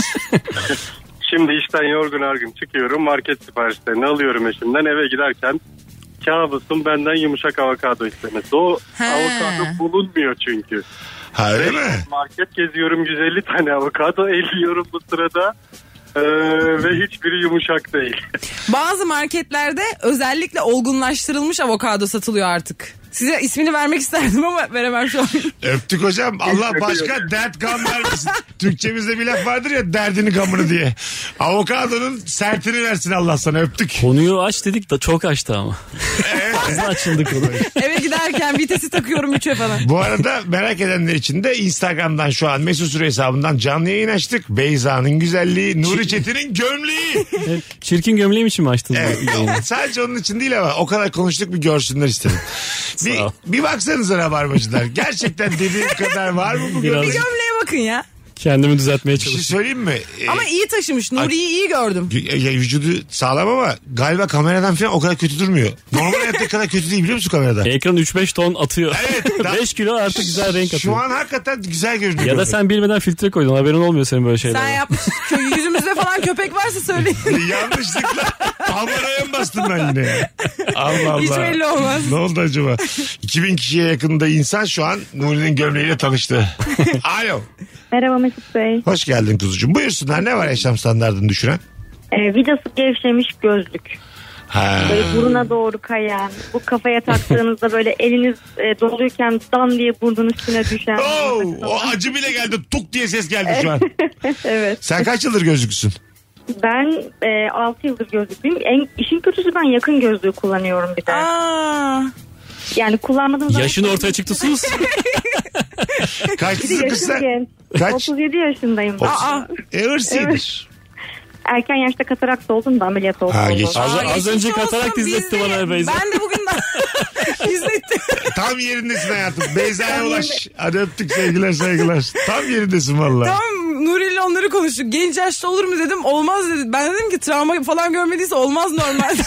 Şimdi işten yorgun argın çıkıyorum. Market siparişlerini alıyorum eşimden. Eve giderken kabusum benden yumuşak avokado istemesi. O He. avokado bulunmuyor çünkü. ha öyle mi? Market geziyorum 150 tane avokado elliyorum bu sırada. Ee, ve hiçbiri yumuşak değil. Bazı marketlerde özellikle olgunlaştırılmış avokado satılıyor artık. Size ismini vermek isterdim ama veremem şu an. Öptük hocam. Allah Öpüyorum. başka dert gam vermesin. Türkçemizde bir laf vardır ya derdini gamını diye. Avokadonun sertini versin Allah sana. Öptük. Konuyu aç dedik da çok açtı ama. Fazla açıldı konu. Eve giderken vitesi takıyorum üçe falan. Bu arada merak edenler için de Instagram'dan şu an Mesut Süre hesabından canlı yayın açtık. Beyza'nın güzelliği, Nuri Çetin'in gömleği. Evet, Çirkin gömleğim için mi açtın? bu Evet. yayını? Sadece onun için değil ama o kadar konuştuk bir görsünler istedim. bir, Sağ ol. bir baksanıza rabarbacılar. Gerçekten dediğim kadar var mı bu Biraz- Bir gömlek? gömleğe bakın ya. Kendimi düzeltmeye Bir şey çalıştım. söyleyeyim mi? Ee, Ama iyi taşımış. Nuri'yi iyi gördüm. e, ya- ya vücudu sağlam ama galiba kameradan falan o kadar kötü durmuyor. Normal hayatta kadar kötü değil biliyor musun kamerada? Ekran 3-5 ton atıyor. Evet, daha- 5 kilo E, artık güzel renk Şu atıyor. an hakikaten güzel görünüyor. Ya da sen bilmeden filtre koydun haberin olmuyor senin böyle şeyler. Sen yapmış. Kö- Yüzümüzde falan köpek varsa söyleyin. Yanlışlıkla kameraya mı bastım ben yine? ya? Allah Allah. Hiç belli olmaz. Ne oldu acaba? 2000 kişiye yakında insan şu an Nuri'nin gömleğiyle tanıştı. Alo. Merhaba Mesut Bey. Hoş geldin kuzucuğum. Buyursunlar ne var yaşam standartını düşüren? Ee, vidası gevşemiş gözlük. Ha. Böyle buruna doğru kayan. Bu kafaya taktığınızda böyle eliniz e, doluyken dam diye burnun üstüne düşen. Oo, o acı bile geldi. Tuk diye ses geldi şu an. evet. Sen kaç yıldır gözlüksün? Ben e, 6 yıldır gözlüklüyüm. En, işin kötüsü ben yakın gözlüğü kullanıyorum bir de. Aa, Yani kullanmadığım zaman... Yaşın ortaya çıktı sus. Bir de Kaçlısın kız yaşım sen? genç. Kaç? 37 yaşındayım. ben. aa. E hırsıymış. Erken yaşta katarakt oldum da ameliyat oldum. Ha, geç. Az- Aa, az geçmiş önce olsun. katarak Biz izletti de- bana Beyza. Ben de bugün izletti. Tam yerindesin hayatım. Beyza'ya ulaş. Hadi öptük sevgiler saygılar. Tam yerindesin valla. Tamam Nuri ile onları konuştuk. Genç yaşta olur mu dedim. Olmaz dedi. Ben dedim ki travma falan görmediyse olmaz normalde.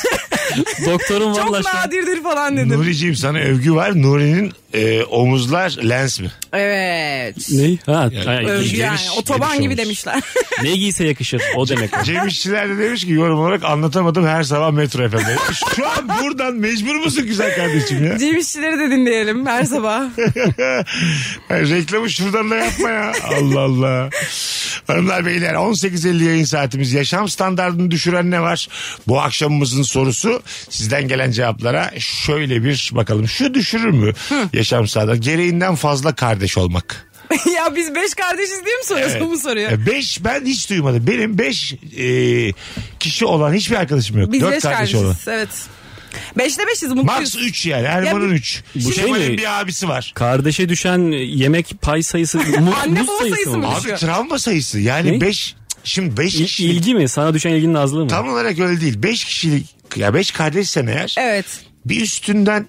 Doktorum Çok valla şu an- nadirdir falan dedim. Nuri'ciğim sana övgü var. Nuri'nin e, omuzlar lens mi? Evet. Ne? Ha, ha, Övgü Geniş- yani. Otoban geniş gibi olmuş. demişler. ne giyse yakışır o demek. o. Cem İşçiler de demiş ki yorum olarak anlatamadım her sabah metro FM'de. Şu an buradan mecbur musun güzel kardeşim ya? Cem İşçileri de dinleyelim her sabah. Yani reklamı şuradan da yapma ya. Allah Allah. Hanımlar beyler 18.50 yayın saatimiz. Yaşam standartını düşüren ne var? Bu akşamımızın sorusu sizden gelen cevaplara şöyle bir bakalım. Şu düşürür mü yaşam standartı? Gereğinden fazla kardeş olmak. ya biz beş kardeşiz diye mi soruyorsun bu E, soruyu? 5 ben hiç duymadım. Benim 5 kişi olan hiçbir arkadaşım yok. Biz 4 beş kardeş kardeşiz. olan. Evet. Beşte beşiz mutluyuz. Max 3 yani. Herman'ın Ya 3. Bu Bu şey Kemal'in mi? bir abisi var. Kardeşe düşen yemek pay sayısı mu, Anne muz baba sayısı sayısı mı? mı? Abi Konuşuyor. travma sayısı. Yani Ne? 5 şimdi 5 İl- kişilik ilgi mi? Sana düşen ilginin azlığı mı? tam olarak öyle değil. 5 kişilik ya 5 kardeşsen eğer Evet. bir üstünden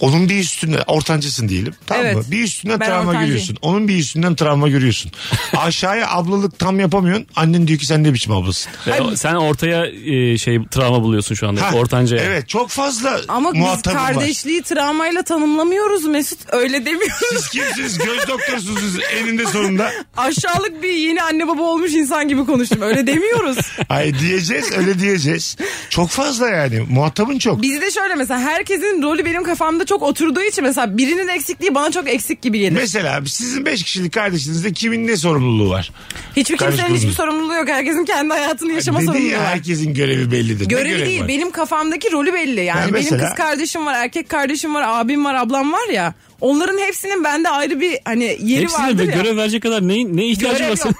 Onun bir üstüne ortancısın diyelim. Tamam mı? Evet. Bir üstünden Ben travma ortancıyım. görüyorsun. Onun bir üstünden travma görüyorsun. Aşağıya ablalık tam yapamıyorsun. Annen diyor ki sen ne biçim ablasın. Ve o- sen ortaya e, şey travma buluyorsun şu anda. Ha, Ortancaya. Evet çok fazla Ama biz muhatabım var. kardeşliği travmayla tanımlamıyoruz Mesut. Öyle demiyoruz. Siz kimsiniz? Göz doktorsunuz elinde sonunda. Aşağılık bir yeni anne baba olmuş insan gibi konuştum. Öyle demiyoruz. Ay diyeceğiz öyle diyeceğiz. Çok fazla yani muhatabın çok. Bizde şöyle mesela herkesin rolü benim kafamda çok oturduğu için mesela birinin eksikliği bana çok eksik gibi gelir. Mesela sizin 5 kişilik kardeşinizde kimin ne sorumluluğu var? Hiçbir Kardeş kimsenin hiçbir grubumuz. sorumluluğu yok. Herkesin kendi hayatını yaşama Dedi sorumluluğu ya var. herkesin görevi bellidir. Görevi ne görev değil. var? Benim kafamdaki rolü belli. Yani Ben benim mesela- kız kardeşim var, erkek kardeşim var, abim var, ablam var ya. Onların hepsinin bende ayrı bir hani yeri Hepsine vardır de ya. görev verecek kadar neyin, ne ihtiyacı Görev var senin?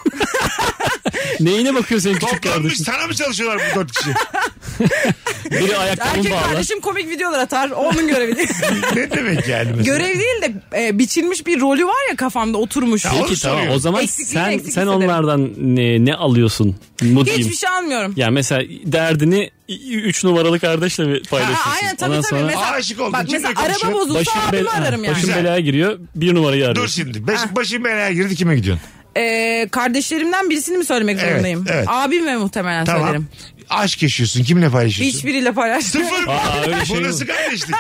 Neyine bakıyor senin küçük Toplanmış kardeşin? sana mı çalışıyorlar bu dört kişi? Biri ayakkabını Erkek bağlar. kardeşim komik videolar atar. o Onun görevi değil. ne demek yani mesela? görev değil de e, biçilmiş bir rolü var ya kafamda oturmuş. şey Ya onu Peki tamam soruyorum. o zaman Eksikliğini sen eksik sen hissederim. onlardan ne, ne alıyorsun? Mu diyeyim. Hiçbir şey almıyorum. Ya mesela derdini 3 numaralı kardeşle mi paylaşıyorsun? Ha, aynen tabii Ondan tabii. sonra Mesela, Aşık oldun, Bak kimle mesela araba konuşuyor? bozulsa bel- abimi ha, ararım yani. başın Güzel. belaya giriyor bir numarayı Dur arıyorsun. şimdi. Beş, başın belaya girdi kime gidiyorsun? Ee, kardeşlerimden birisini mi söylemek Evet, zorundayım? evet. Abim ve muhtemelen Tamam. söylerim. Aşk yaşıyorsun. Kimle paylaşıyorsun? Hiçbiriyle paylaşmıyorum. Sıfır. Aa, öyle şey bu mi? nasıl kardeşlik?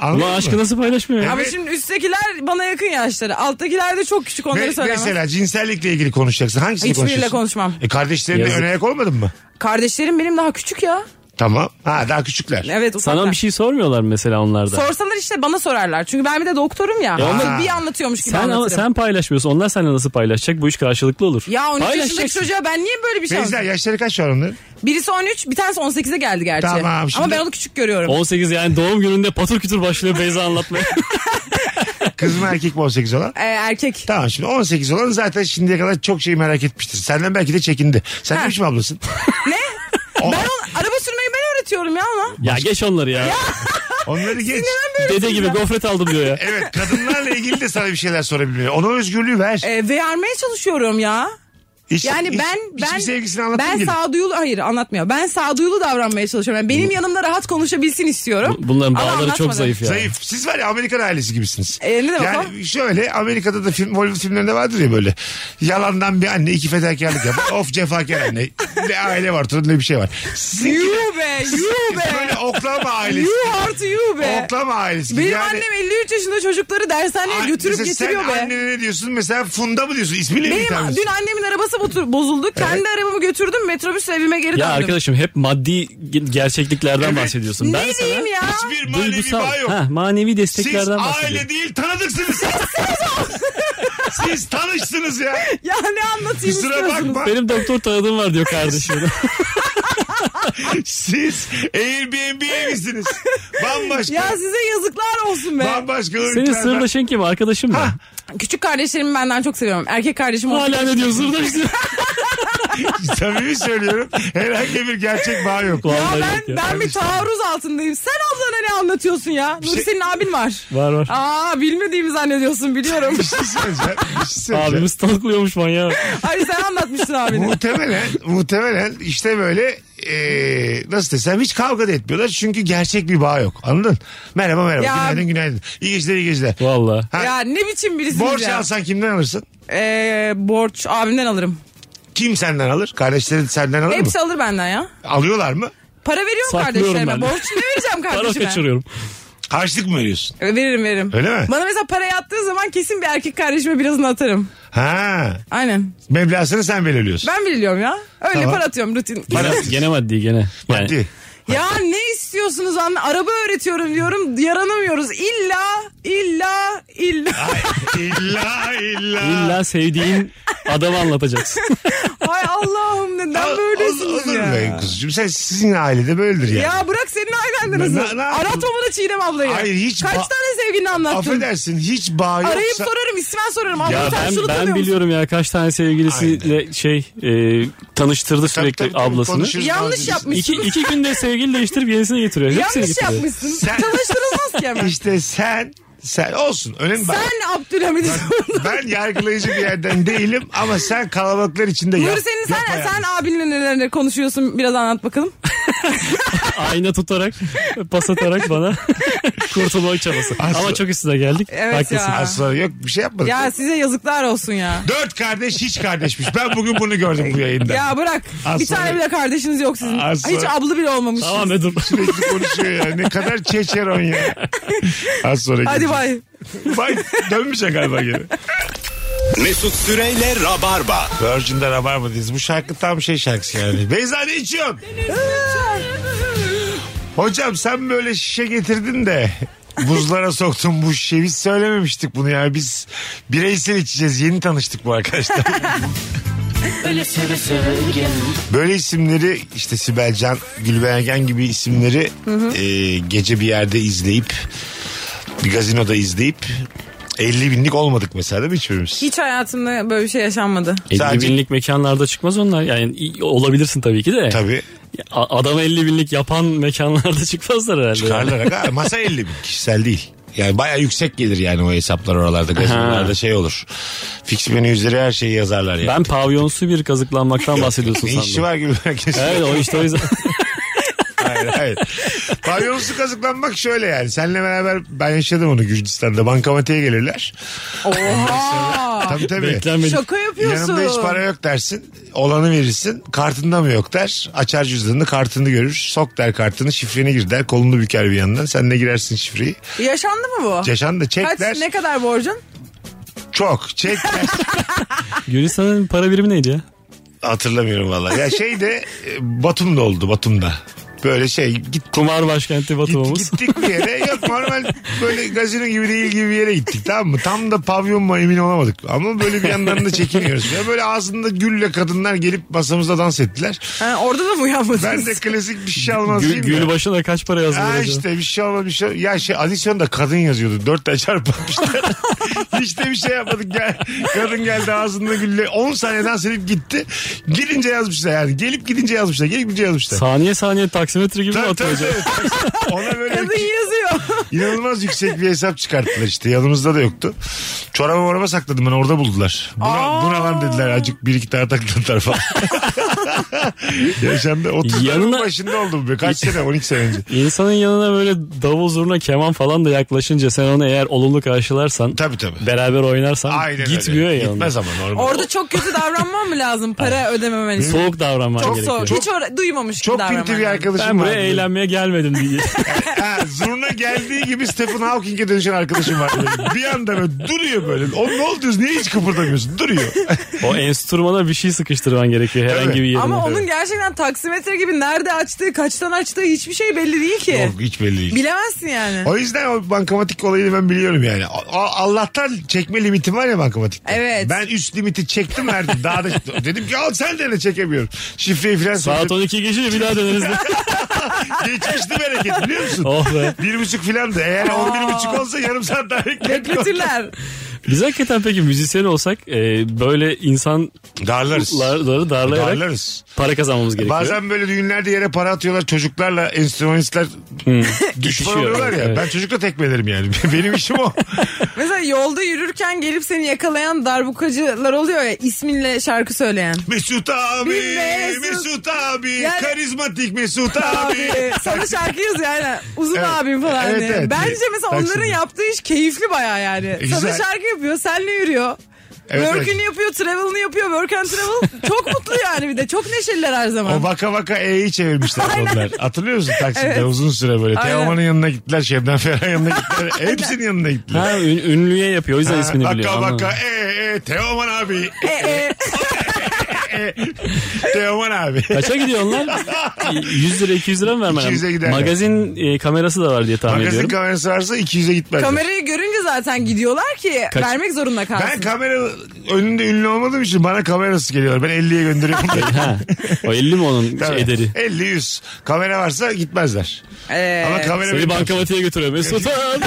Ama aşkı nasıl paylaşmıyor ya? Ama Evet. şimdi üsttekiler bana yakın yaşları. Alttakiler de çok küçük onları Me- söylemem. mesela cinsellikle ilgili konuşacaksın. Hangisini Hiçbiriyle konuşuyorsun? konuşmam. E kardeşlerine Yazık. öne ayak olmadın mı? Kardeşlerim benim daha küçük ya. Tamam. Ha daha küçükler. Evet ufaklar. Sana bir şey sormuyorlar mesela onlarda. Sorsalar işte bana sorarlar. Çünkü ben bir de doktorum ya. onlar- bir anlatıyormuş gibi sen ama anlatırım. sen paylaşmıyorsun. Onlar seninle nasıl paylaşacak? Bu iş karşılıklı olur. Ya 13 yaşındaki Paylaşacaksın. çocuğa ben niye böyle bir şey Beyza anlatayım? yaşları kaç şu an onların? Birisi 13 bir tanesi 18'e geldi gerçi. Tamam, şimdi- Ama ben onu küçük görüyorum. 18 yani doğum gününde patır kütür başlıyor Beyza anlatmaya. Kız mı erkek mi 18 olan? Ee, erkek. Tamam şimdi 18 olan zaten şimdiye kadar çok şey merak etmiştir. Senden belki de çekindi. Sen ne Ha. biçim ablasın? Ne? O- ben ona- araba sürmeyi ben öğretiyorum ya ona. ya geç onları ya. Onları geç. Dede gibi gofret aldım diyor ya. Evet kadınlarla ilgili de sana bir şeyler sorabilmeli. Ona özgürlüğü ver. Ee, ve yarmaya çalışıyorum ya. Hiç- Yani hiç- ben hiçbir ben sevgisini anlatmayın ben gelin. sağduyulu hayır anlatmıyor. Ben sağduyulu davranmaya çalışıyorum. Yani benim yanımda rahat konuşabilsin istiyorum. Bu- Bunların Ama bağları çok anlatmadım. zayıf ya. Zayıf. Siz var ya Amerikan ailesi gibisiniz. E, ne demek yani şöyle Amerika'da da film, Hollywood filmlerinde vardır ya böyle. Yalandan bir anne iki fedakarlık yapar. of cefakar anne. Ne aile var turun ne bir şey var. Sizinki de You be you böyle be. Oklahoma ailesi. you artı you be. Oklahoma ailesi. Benim yani, annem 53 yaşında çocukları dershaneye Ay, götürüp mesela getiriyor be. Sen annene ne diyorsun? Mesela Funda mı diyorsun? İsmiyle mi hitap Benim ediyorsun? dün annemin arabası botu- bozuldu. Kendi arabamı götürdüm metrobüsle evime geri Ya döndüm. arkadaşım hep maddi ge- gerçekliklerden Evet. bahsediyorsun. ne Ben sana diyeyim ya? Hiçbir manevi duygusal, bağ yok. ha, manevi Siz desteklerden bahsediyorum. aile değil tanıdıksınız. Siz tanıştınız ya. Ya ne anlatayım Kusura istiyorsunuz? bakma. Benim doktor tanıdığım var diyor kardeşim. Siz Airbnb evisiniz. Bambaşka. Ya size yazıklar olsun be. Bambaşka Senin ırklardan. sırdaşın kim arkadaşım mı? Küçük kardeşlerimi benden çok seviyorum. Erkek kardeşim olsun. Hala ne diyor sırdaş diyor. Samimi söylüyorum. Herhangi bir gerçek bağ yok. Ya Vallahi yok ben, ya. ben bir taarruz altındayım. Sen ablana ne anlatıyorsun ya? şey- Nuri senin abin var. Var var. Aa bilmediğimi zannediyorsun biliyorum. Bir şey söyleyeceğim. Bir şey söyleyeceğim. Abimiz tanıklıyormuş manyağı. şey- Hayır sen anlatmıştın abini. Muhtemelen, muhtemelen işte böyle e, nasıl desem hiç kavga da etmiyorlar çünkü gerçek bir bağ yok. Anladın? Merhaba merhaba. Ya- Günaydın günaydın. İyi geceler iyi geceler. Valla. Ha, ya ne biçim birisiniz borç ya? alsan kimden alırsın? Ee, borç abimden alırım. Kim senden alır? Kardeşlerin senden alır Hepsi mı? alır benden ya. Alıyorlar mı? Para veriyorum Saklıyorum ben kardeşlerime. de. Borç ne vereceğim Para kardeşime? kaçırıyorum. Harçlık mı veriyorsun? Ee, Veririm veririm. Öyle mi? Bana mesela para yattığı zaman kesin bir erkek kardeşime birazını atarım. Ha. Aynen. Meblasını sen belirliyorsun. Ben biliyorum ya. Öyle Tamam. para atıyorum rutin. Gene, gene maddi gene. Yani Maddi. Ya ne istiyorsunuz anne? Araba öğretiyorum diyorum. Yaranamıyoruz. İlla, illa, illa. illa illa. illa sevdiğin adamı anlatacaksın. Ay Allah'ım neden böylesiniz olur ya? mu be kuzucuğum? Sen sizin ailede böyledir yani. Ya bırak senin ailen de Ne- nasıl? ne- ne yaptın? Aratma bana Çiğdem ablayı. Hayır, hiç Kaç ba- tane sevgilini anlattın? Affedersin hiç bağ yoksa. Arayıp sorarım ismen sorarım. Abla ya sen ben, şunu ben tanıyor musun? biliyorum ya kaç tane sevgilisiyle şey e, tanıştırdı sürekli tabii, tabii, ablasını. konuşuruz. Yanlış İki, yapmışsınız. iki günde sevgili değiştirip yenisini getiriyor. Hepsini Yanlış getiriyor. yapmışsın. Sen- Tanıştırılmaz ki hemen. İşte sen sen olsun. Önemli bak. Sen Abdülhamid'i sordun. Ben yargılayıcı bir yerden değilim ama sen kalabalıklar içinde yap. Nuri senin sen, yap sen hayatını. abinle nelerle konuşuyorsun biraz anlat bakalım. Ayna tutarak, pas atarak bana kurtulma çabası. Aslı- Ama çok üstüne geldik. Evet Haklısın. ya. Asla yok bir şey yapmadık. Ya size yazıklar olsun ya. Dört kardeş hiç kardeşmiş. Ben bugün bunu gördüm bu yayında. Ya bırak. Az bir sonra- tane bile kardeşiniz yok sizin. Az Hiç sonra- ablı bile olmamış. Tamam Edur. Sürekli konuşuyor ya. Ne kadar çeçeron ya. Az sonra Hadi geleceğiz. bay. Bay dönmeyecek galiba geri. Mesut Süreyle Rabarba. Virgin'de Rabarba'dayız. Bu şarkı tam şey şarkısı yani. Beyza ne içiyorsun? Hocam sen böyle şişe getirdin de buzlara soktun bu şişeyi. Biz söylememiştik bunu ya. Biz bireysel içeceğiz. Yeni tanıştık bu arkadaşlar. Böyle isimleri işte Sibel Can, Gülben Ergen gibi isimleri e, gece bir yerde izleyip bir gazinoda izleyip 50 binlik olmadık mesela değil mi hiçbirimiz? Hiç hayatımda böyle bir şey yaşanmadı. 50 Sadece- binlik E, mekanlarda çıkmaz onlar. Yani iyi- olabilirsin tabii ki de. Tabii. A- Adam 50 binlik yapan mekanlarda çıkmazlar herhalde. yani. Karlara kadar masa 50 bin kişisel değil. Yani baya yüksek gelir yani o hesaplar oralarda gazinolarda şey olur. Fix menü üzeri her şeyi yazarlar yani. Ben pavyonsu bir kazıklanmaktan bahsediyorsun ne işi sandım. var gibi herkes. Evet o işte o yüzden. hayır hayır. Pavyonsu kazıklanmak şöyle yani. Seninle beraber ben yaşadım onu Gürcistan'da. Bankamatiğe gelirler. Ah. Oha. Tabii tabii. Beklenmedik. Şaka yapıyorsun. Yanımda hiç para yok dersin. Olanı verirsin. Kartında mı yok der. Açar cüzdanını kartını görür. Sok der kartını şifreni gir der. Kolunu büker bir yandan. Sen de girersin şifreyi. Yaşandı mı bu? Yaşan da çek Kaç der. ne kadar borcun? Çok çek der. Gürcistan'ın para birimi neydi ya? Hatırlamıyorum valla. Ya şey de e, Batum'da oldu Batum'da. Böyle şey git, Kumar başkenti git- Batum'umuz. gittik bir yere. Yok normal böyle gazino gibi değil gibi bir yere gittik tamam mı? Tam da pavyon mu emin olamadık. Ama böyle bir yandan da çekiniyoruz. Ya böyle ağzında gülle kadınlar gelip masamızda dans ettiler. Ha, orada da mı uyanmadınız? Ben de klasik bir şey almazdım. Gül, gül başına kaç para yazdı? Ha acaba? işte bir şey olmadı bir şey olmadı. Ya şey adisyonda kadın yazıyordu. Dört tane çarpmışlar. Hiç de bir şey yapmadık. Gel, kadın geldi ağzında gülle. 10 saniye dans edip gitti. Girince yazmışlar yani. Gelip gidince yazmışlar. Gelip gidince yazmışlar. Saniye saniye taksimetre gibi mi Tabii, tabii, atılacak? tabii. Ona böyle Kadın yazıyor. inanılmaz yüksek bir hesap çıkarttılar işte. Yanımızda da yoktu. Çorabı moraba sakladım ben orada buldular. Buna, Aa. buna lan dediler acık bir iki tane taktılar falan. Yaşandı. 30 Yanına- başında oldum be. Kaç sene? 12 sene önce. İnsanın yanına böyle davul zurna keman falan da yaklaşınca sen onu eğer olumlu karşılarsan Tabii tabii. beraber oynarsan Aynen öyle. gitmiyor ya. Gitmez ama normal. Orada çok kötü davranman mı lazım para ödememen için? Soğuk davranman Çok gerekiyor. soğuk. Hiç or- duymamış gibi Çok davranman pinti bir lazım. arkadaşım Ben buraya vardı. eğlenmeye gelmedim diye. Ha, zurna geldiği gibi Stephen Hawking'e dönüşen arkadaşım var. Böyle. Bir anda böyle duruyor böyle. O ne oldu diyorsun? Niye hiç kıpırdamıyorsun? Duruyor. o enstrümana bir şey sıkıştırman gerekiyor herhangi bir yerine. Ama onun gerçekten taksimetre gibi nerede açtığı, kaçtan açtığı hiçbir şey belli değil ki. Yok hiç belli değil. Bilemezsin yani. O yüzden o bankamatik olayını ben biliyorum yani. A- a- Allah'tan çekme limitim var ya bankamatikte. Evet. Ben üst limiti çektim verdim. Daha da dedim ki al sen de ne çekemiyorum. Şifreyi falan Saat söyledim. 12 geçince bir daha döneriz. de. Geçmişti bereket biliyor musun? oh be. Bir buçuk filan da eğer on bir buçuk olsa yarım saat daha bekletmiyor. Kötüler. Biz hakikaten peki müzisyen olsak e, böyle insanları Darlarız. darlayarak Darlarız. para kazanmamız gerekiyor. E, Bazen böyle düğünlerde yere para atıyorlar çocuklarla enstrümanistler düşman İtişiyor. oluyorlar ya. Hmm. Evet. Ben çocukla tekmelerim yani. Benim işim o. Mesela yolda yürürken gelip seni yakalayan darbukacılar oluyor ya isminle şarkı söyleyen. Mesut abi, Bir Mesut, Mesut. abi, Yani- karizmatik Mesut abi. Abi sana şarkı yazıyor aynen. Uzun Evet. abim falan Evet, diye. evet. Bence mesela Taksim'de. onların yaptığı iş keyifli baya yani. güzel. Sana şarkı yapıyor, senle yürüyor. Evet, Work'ünü evet. yapıyor, travel'ını yapıyor, work and travel. Çok mutlu yani bir de. Çok neşeliler her O zaman. vaka vaka E'yi çevirmişler onlar. Hatırlıyor musun Taksim'de Evet. uzun süre böyle. Aynen. Teoman'ın yanına gittiler, Şebnem Ferah'ın yanına gittiler. Hepsinin yanına gittiler. Ha, ün- ünlüye yapıyor o yüzden Ha, ismini vaka biliyor. Anladım. vaka e e Teoman abi, E, e. e, Teoman abi. Kaça gidiyor onlar? 100 lira 200 lira mı vermen 200'e giderler. lazım? Magazin e, kamerası da var diye tahmin Magazin ediyorum. kamerası varsa 200'e gitmez. Kamerayı görünce zaten gidiyorlar ki Kaç- vermek zorunda kalsın. Ben kamera önünde ünlü olmadığım için bana kamerası geliyorlar. Ben 50'ye gönderiyorum. ha. O 50 mi onun Tabii. şey ederi? 50 100. Kamera varsa gitmezler. Ee, Ama kamera Seni benim. bankamatiğe götürüyor Mesut. abi.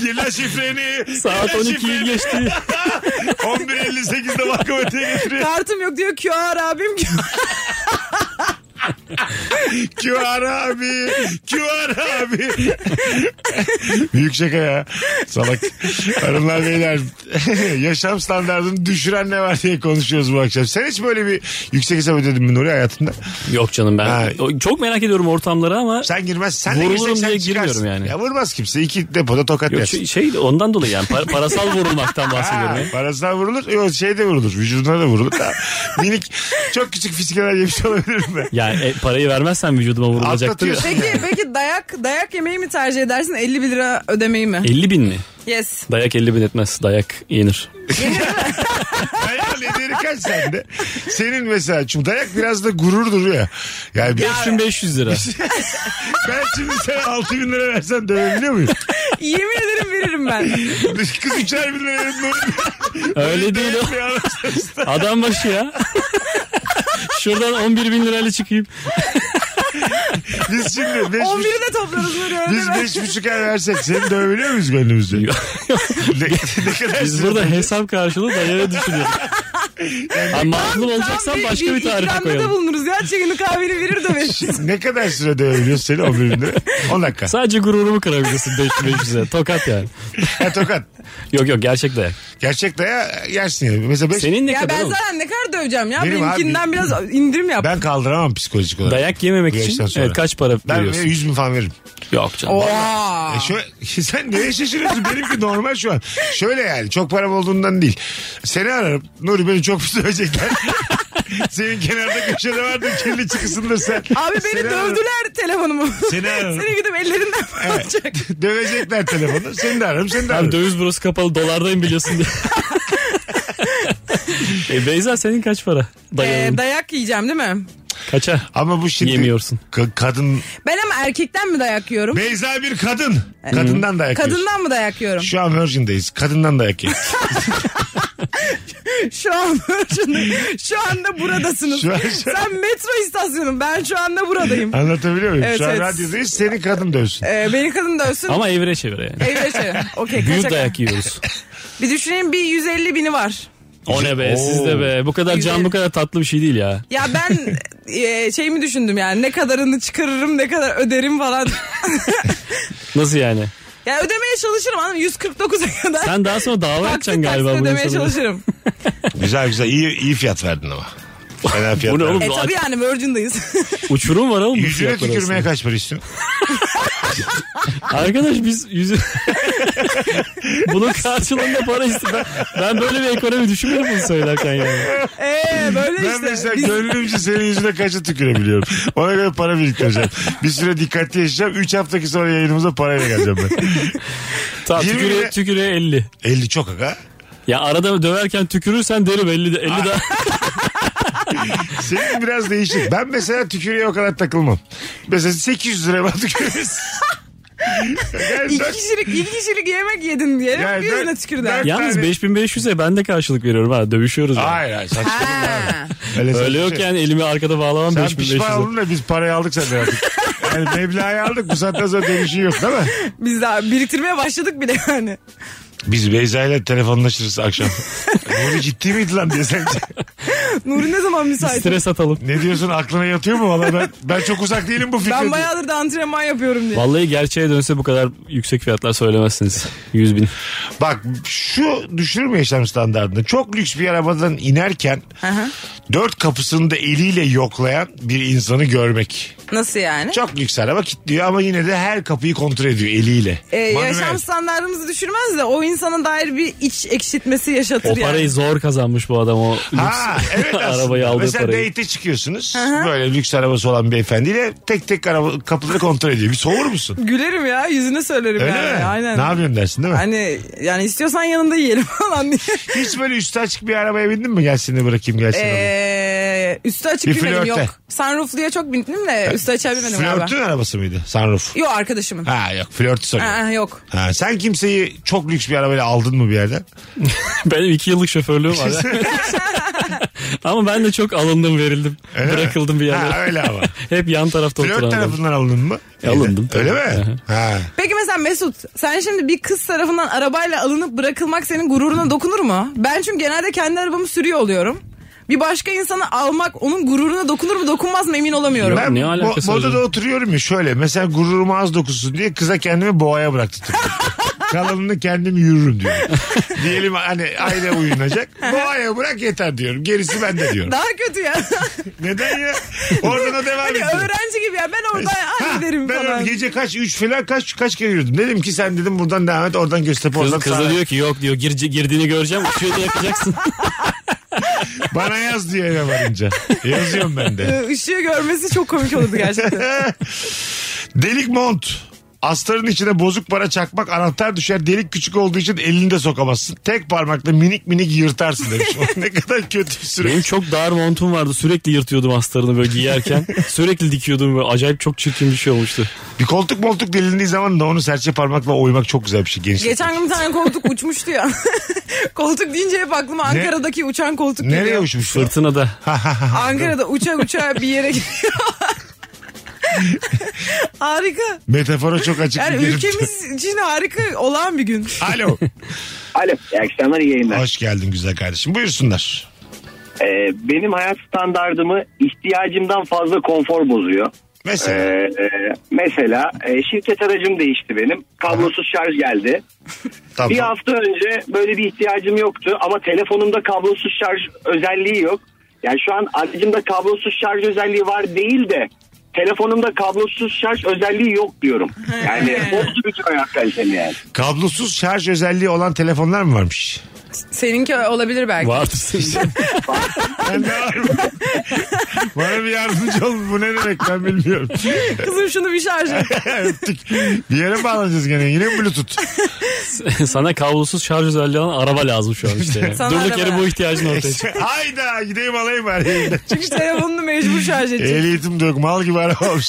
Gir lan şifreni. Saat Gir lan 12'yi şifreni. geçti. 11.58'de bankamatiğe getiriyor. Kartım yok diyor QR abim. QR abi. QR abi. Büyük şaka ya. Salak. Hanımlar beyler. Yaşam standartını düşüren ne var diye konuşuyoruz bu akşam. Sen hiç böyle bir yüksek hesap ödedin mi Nuri hayatında? Yok canım ben. Ha. O- Çok merak ediyorum ortamları ama Sen girmez. Sen de Vurulurum girsek sen diye çıkarsın. girmiyorum yani. Ya vurmaz kimse. İki depoda tokat yok, yersin. şey, şey ondan dolayı yani par- parasal vurulmaktan bahsediyorum. Ha, ya. parasına vurulur. Yok şey de vurulur. Vücuduna da vurulur. Da. Minik çok küçük fiskeler yemiş olabilirim ben. Yani e, parayı vermezsen vücuduma vurulacaktır. ya. Atlatıyorsun. Peki peki dayak dayak yemeği mi tercih edersin 50 bir lira ödemeyi mi? 50 bin mi? Yes. Dayak 50 bin etmez. Dayak yenir. Hayal ederi kaç sende? Senin mesela çünkü dayak biraz da gururdur ya. Yani bir- 5500 lira. ben şimdi sana 6 bin lira versen dövebiliyor muyum? Yemin ederim veririm ben. Kız 3'er bin lira verin. Öyle değil o. Adam başı ya. Şuradan 11 bin lirayla çıkayım. Biz şimdi 5 11'i de toplarız Nuri öyle biz mi? beş buçuk er versek seni dövebiliyor muyuz gönlümüzde? ne, ne kadar Biz sınırlı? burada hesap karşılığı dayağı düşünüyoruz. Ha, mazlum olacaksan başka bir tarife ikramda da koyalım. bulunuruz ya. Çekini kahveni verir de verir. ne kadar süre dövebiliyoruz seni 11 bin lira? 10 dakika. Sadece gururumu kırabilirsin 5500'e. Tokat yani. Ha, tokat. Yok yok gerçek dayak. Gerçek daya yersin yani. Mesela beş, Senin ne ya kadar ben oğlum? zaten ne kadar döveceğim ya. Benim Benimkinden abi- biraz indirim yap. ben kaldıramam psikolojik olarak. Dayak yememek Bu yaştan için sonra. evet, kaç para ben veriyorsun? 100 bin falan veririm. Yok canım. Oha. E şöyle, sen neye şaşırıyorsun? Benimki normal şu an. Şöyle yani çok param olduğundan değil. Seni ararım. Nuri beni çok pis dövecekler. Senin kenarda köşede vardı kirli çıkısındır sen. Abi beni Seni ararım. dövdüler telefonumu. Seni ararım. Seni gidip ellerinden alacak. Dövecekler telefonu. Seni de ararım. Seni de Abi ararım. döviz burası kapalı dolardayım biliyorsun diye. e Beyza senin kaç para? Ee, Dayağın. dayak yiyeceğim değil mi? Kaça? Ama bu şimdi Yemiyorsun. Ka- kadın Ben ama erkekten mi dayak yiyorum? Beyza bir kadın. Kadından dayak yiyorsun. Kadından mı dayak yiyorum? Şu an Virgin'deyiz. Kadından dayak yiyorsun. Şu an şu anda buradasınız. Şu an- Sen metro istasyonu ben şu anda buradayım. Anlatabiliyor muyum? Evet, şu an evet. radyodayız. Seni kadın dövsün. Ee, beni kadın dövsün. Ama evire çevire yani. Evde şey. Okey Büyük kaçak. dayak yiyoruz. Bir düşüneyim bir 150 bini var. O ne be siz de be. Bu kadar can bu kadar tatlı bir şey değil ya. Ya ben e, şey mi düşündüm yani ne kadarını çıkarırım ne kadar öderim falan. Nasıl yani? ya ödemeye çalışırım anladın mı? 149'a kadar. Sen daha sonra dava Taksit edeceksin galiba taksit bu ödemeye insanlara. çalışırım. Güzel güzel. İyi, iyi fiyat verdin ama. Fena fiyat Bu ne oğlum? e tabii yani Virgin'dayız. Uçurum var oğlum. bu Yüzüne fiyatlar tükürmeye arasında. kaç para istiyorsun? Arkadaş biz yüzü... Bunun karşılığında para istedim. Ben, ben böyle bir ekonomi düşünmedim bunu söylerken yani. Eee E, böyle Ben işte. mesela gönlümce senin yüzüne kaça tükürebiliyorum. Ona göre para biriktireceğim. Bir süre dikkatli yaşayacağım. 3 haftaki sonra yayınımıza parayla geleceğim ben. Tamam Yirmi tüküre, lira- tüküre 50. 50 çok aga. Ya arada döverken tükürürsen derim 50, de, 50 daha. Senin biraz değişik. Ben mesela tükürüğe o kadar takılmam. Mesela 800 liraya bana tükürürüz. Yani İki dört- kişilik, iki kişilik yemek yedin diye Yani yüzüne dört- tükürdü. dört- Yalnız Yani- 5500'e ben de karşılık veriyorum ha. Dövüşüyoruz yani. Hayır hayır saçmalama. Ha. Öyle, Öyle yok saçma şey. yani elimi arkada bağlamam Sen pişman 5500'e. oldun da biz parayı aldık senden artık. Yani meblağı aldık bu saatten sonra dönüşü yok değil mi? Biz daha biriktirmeye başladık bile yani. Biz Beyza ile telefonlaşırız akşam. Bunu ciddi miydi lan diye sence? Nuri ne zaman müsait? Stres atalım. Ne diyorsun aklına yatıyor mu? Valla ben, ben çok uzak değilim bu fikre. Ben bayağıdır da antrenman yapıyorum diye. Vallahi gerçeğe dönse bu kadar yüksek fiyatlar söylemezsiniz. 100 bin. Bak şu düşürür mü yaşam standartını? Çok lüks bir arabadan inerken Aha. dört kapısını da eliyle yoklayan bir insanı görmek. Nasıl yani? Çok lüks araba kilitliyor ama yine de her kapıyı kontrol ediyor eliyle. Ee, Manuel. yaşam standartımızı düşürmez de o insana dair bir iç ekşitmesi yaşatır O yani. parayı zor kazanmış bu adam o lüks Ha evet aslında. arabayı aldığı Mesela parayı. date'e çıkıyorsunuz. Böyle lüks arabası olan beyefendiyle tek tek araba, kapıları kontrol ediyor. Bir soğur musun? Gülerim ya yüzüne söylerim Öyle yani. mi? Aynen. Ne yapıyorsun dersin değil mi? Hani yani istiyorsan yanında yiyelim falan diye. Hiç böyle üstü açık bir arabaya bindin mi? Gel seni bırakayım gel seni. alayım. Ee, üstü açık Bir bilmedim flörte. yok. Sunrooflu'ya çok bindim de üstü açığa binmedim Flörtün galiba. arabası mıydı? Sunroof. Yok arkadaşımın. Ha yok flörtü soruyor. Aa, yok. Ha, sen kimseyi çok lüks bir arabayla aldın mı bir yerden? Benim 2 yıllık şoförlüğüm var. Ama ben de çok alındım verildim. Öyle mi? Bırakıldım bir Ha, yerde. öyle ama. Hep yan tarafta Flört oturan adam. tarafından alındın mı? E, alındım tabii. Öyle mi? ha. Peki mesela Mesut sen şimdi bir kız tarafından arabayla alınıp bırakılmak senin gururuna dokunur mu? Ben çünkü genelde kendi arabamı sürüyor oluyorum. bir başka insanı almak onun gururuna dokunur mu dokunmaz mı emin olamıyorum. Ben Ne mo- alakası var modada canım? oturuyorum ya şöyle. Mesela gururum az dokusun diye kıza kendimi boğaya bıraktım. Kalanını kendim yürürüm diyorum. Diyelim hani aile uyunacak. Boğaya bırak yeter diyorum. Gerisi bende diyorum. Daha kötü ya. Neden ya? Oradan o devam hani ediyor. öğrenci gibi ya ben oradan Ha, hallederim derim ben falan. öyle gece kaç üç falan kaç kaç kere yürüdüm. Dedim ki sen dedim buradan devam et oradan Göztepe Kız, oradan kız da sağa. diyor ki yok diyor gir, girdiğini göreceğim uçuyor da yakacaksın. Bana yaz diye eve varınca. Yazıyorum ben de. Ee, Işığı görmesi çok komik olurdu gerçekten. Delik mont. Astarın içine bozuk para çakmak anahtar düşer. Delik küçük olduğu için elini de sokamazsın. Tek parmakla minik minik yırtarsın demiş. O ne kadar kötü bir süreç. Benim çok dar montum vardı sürekli yırtıyordum astarını böyle giyerken. sürekli dikiyordum böyle acayip çok çirkin bir şey olmuştu. Bir koltuk moltuk delindiği zaman da onu serçe parmakla oymak çok güzel bir şey. Gençlik. Geçen gün bir tane koltuk uçmuştu ya. koltuk deyince hep aklıma Ne? Ankara'daki uçan koltuk Nereye geliyor. uçmuş? Fırtınada. Ankara'da uça uça bir yere gidiyor. harika. Metafora çok açık Yani bir görüntü. ülkemiz için harika olağan bir gün. Alo. Alo, iyi akşamlar, iyi yayınlar. Hoş geldin güzel kardeşim. Buyursunlar. Ee, benim hayat standardımı ihtiyacımdan fazla konfor bozuyor. Ee, Mesela. e, mesela e, şirket aracım değişti benim. Kablosuz şarj geldi. tamam. Bir hafta önce böyle bir ihtiyacım yoktu ama telefonumda kablosuz şarj özelliği yok. Yani şu an aracımda kablosuz şarj özelliği var değil de telefonumda kablosuz şarj özelliği yok diyorum. Yani o gibi bir hayat kalitem yani. Kablosuz şarj özelliği olan telefonlar mı varmış? Seninki olabilir belki. Vardır. Ben de var mı? Bana bir yardımcı olun. Bu ne demek ben bilmiyorum. Kızım şunu bir şarj et. Öptük. Bir yere bağlanacağız gene. Yine bluetooth. Sana kablosuz şarj özelliği olan araba lazım şu an işte. Sana Yani. Durduk yere araba. bu ihtiyacın ortaya çıkıyor. Hayda gideyim alayım bari. Çünkü telefonunu mecbur şarj edecek. Ehliyetim de yok. Mal gibi araba olmuş.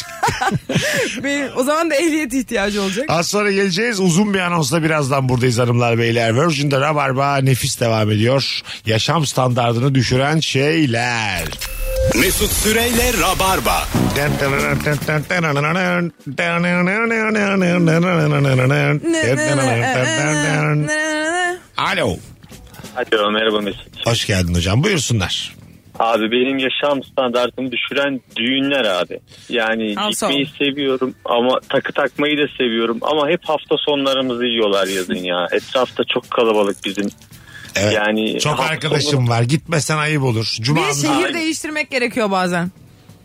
Benim- o zaman da ehliyet ihtiyacı olacak. Az sonra geleceğiz. Uzun bir anonsla birazdan buradayız hanımlar beyler. Virgin'de Rabarba nefis devam ediyor. Yaşam standartını düşüren şeyler. Mesut Süreyle Rabarba. Alo. Alo merhaba Mesut. Hoş geldin hocam. Buyursunlar. Abi benim yaşam standartımı düşüren düğünler abi. Yani Al sağ ol. gitmeyi seviyorum ama takı takmayı da seviyorum ama hep hafta sonlarımızı yiyorlar yazın ya. Etrafta çok kalabalık bizim. Evet. Yani Çok hafta sonu- arkadaşım var. Gitmesen ayıp olur. Cuma Bir şey şehir değiştirmek gerekiyor bazen.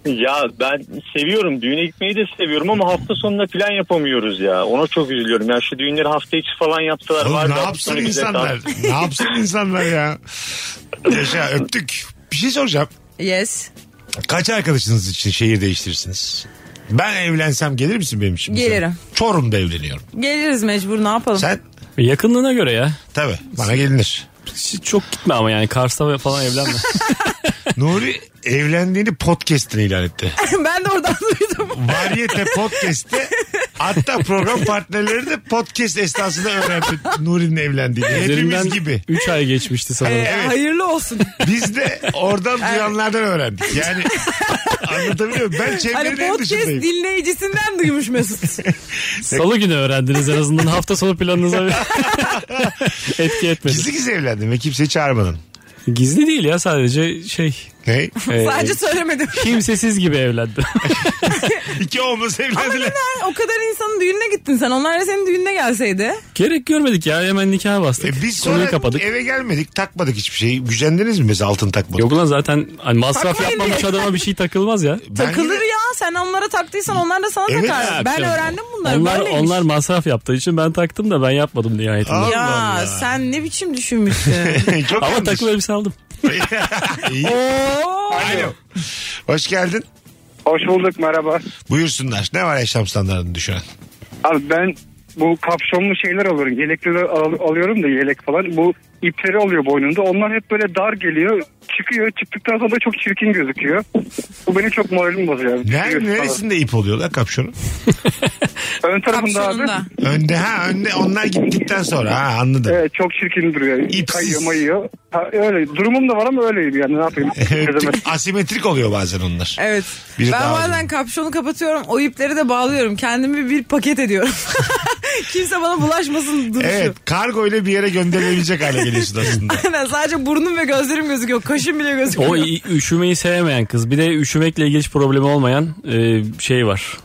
Ya ben seviyorum düğüne gitmeyi de seviyorum ama hafta sonuna plan yapamıyoruz ya. Ona çok üzülüyorum. Ya şu düğünleri hafta içi falan yaptılar. Oğlum Vardı ne hafta yapsın sonu bize insanlar? tatil. ne yapsın insanlar ya? Yaşa öptük. Bir şey soracağım. Yes. Kaç arkadaşınız için şehir değiştirirsiniz? Ben evlensem gelir misin benim için? mesela? Gelirim. Çorum'da evleniyorum. Geliriz mecbur ne yapalım. Sen? Yakınlığına göre ya. Tabii. Bana gelinir. Çok gitme ama yani Kars'ta falan evlenme. Nuri evlendiğini podcast'ine ilan etti. ben de oradan duydum. Variyete podcast'te hatta program partnerleri de podcast esnasında öğrendi Nuri'nin evlendiğini. Üzerinden Hepimiz gibi. 3 ay geçmişti sanırım. Ee, Hayırlı olsun. Biz de oradan duyanlardan öğrendik. Yani anlatabiliyor muyum? Ben Hani çevrenin en podcast dışındayım. dinleyicisinden duymuş Mesut. Salı günü öğrendiniz en azından hafta sonu planınıza bir etki etmedi. Gizli Gizli. gizli evlendim ve kimseyi çağırmadın. değil ya sadece şey. Ne? e, Sadece söylemedim. Kimsesiz gibi evlendim. İki olmaz Ama evlendiler. neden o kadar insanın düğününe gittin sen? Onlar da senin düğününe gelseydi. Gerek görmedik ya hemen nikaha bastık. E biz Konuyu sonra kapadık. eve gelmedik takmadık hiçbir şeyi. Gücendiniz mi mesela altın takmadık? Yok lan zaten hani masraf Takmayın yapmamış diye. adama bir şey takılmaz ya. Ben Takılır yine- ya. Sen onlara taktıysan onlar da sana Evet takar. ya, ben Yapacağım. öğrendim bunları. Onlar, Böyleymiş. onlar masraf yaptığı için ben taktım da ben yapmadım nihayetinde. Allah Ya Allah. sen ne biçim düşünmüşsün? Çok Ama yanlış. takım elbise aldım. İyi. Oo. Alo. Hoş geldin. Hoş bulduk merhaba. Buyursunlar. Ne var yaşam standartını düşüren? Abi ben bu kapşonlu şeyler alıyorum. Yelekleri al- alıyorum da yelek falan. Bu ipleri alıyor boynunda. Onlar hep böyle dar geliyor. Çıkıyor. Çıktıktan sonra da çok çirkin gözüküyor. Bu beni çok moralimi bozuyor. abi. Nerede, Çıkıyor. neresinde ip oluyor lan kapşonun? Ön tarafında abi. Kapşonunda. Önde ha önde onlar gittikten sonra ha anladım. Evet çok çirkin duruyor. İpsiz. Kayıyor mayıyor. Ha, öyle. Durumum da var ama öyleyim yani ne yapayım. Çözemez. Asimetrik oluyor bazen onlar. Evet. Biri ben daha bazen kapşonu kapatıyorum. O ipleri de bağlıyorum. Kendimi bir paket ediyorum. Kimse bana bulaşmasın duruşu. Evet kargo ile bir yere gönderilebilecek hale geliyorsun aslında. Aynen sadece burnum ve gözlerim gözüküyor. Kaşım bile gözüküyor. O i- üşümeyi sevmeyen kız. Bir de üşümekle ilgili hiç problemi olmayan e, şey var.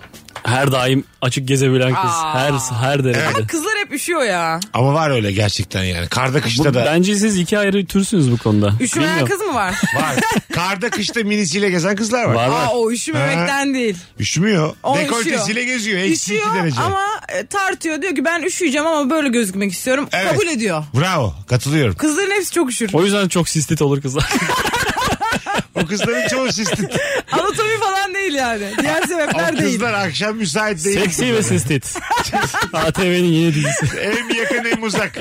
Her daim açık gezebilen kız. Aa. Her her derecede. Ama kızlar hep üşüyor ya. Ama var öyle gerçekten yani. Karda kışta Bu- da. Bence siz iki ayrı türsünüz bu konuda. Üşümeyen Bilmiyorum. kız mı var? Var. Karda kışta minisiyle gezen kızlar var. Var, var. Aa, o üşümemekten değil. Üşümüyor. O Dekoltesiyle üşüyor. geziyor. Eksi iki Üşüyor derece. ama e, tartıyor. Diyor ki ben üşüyeceğim ama böyle gözükmek istiyorum. Evet. Kabul ediyor. Bravo. Katılıyorum. Kızların hepsi çok üşür. O yüzden çok sistit olur kızlar. O kızların çoğu sistit. Anatomi falan değil yani. Diğer sebepler O değil. kızlar akşam müsait değil. Seksi ve sistit. ATV'nin yeni dizisi. Hem yakın hem uzak.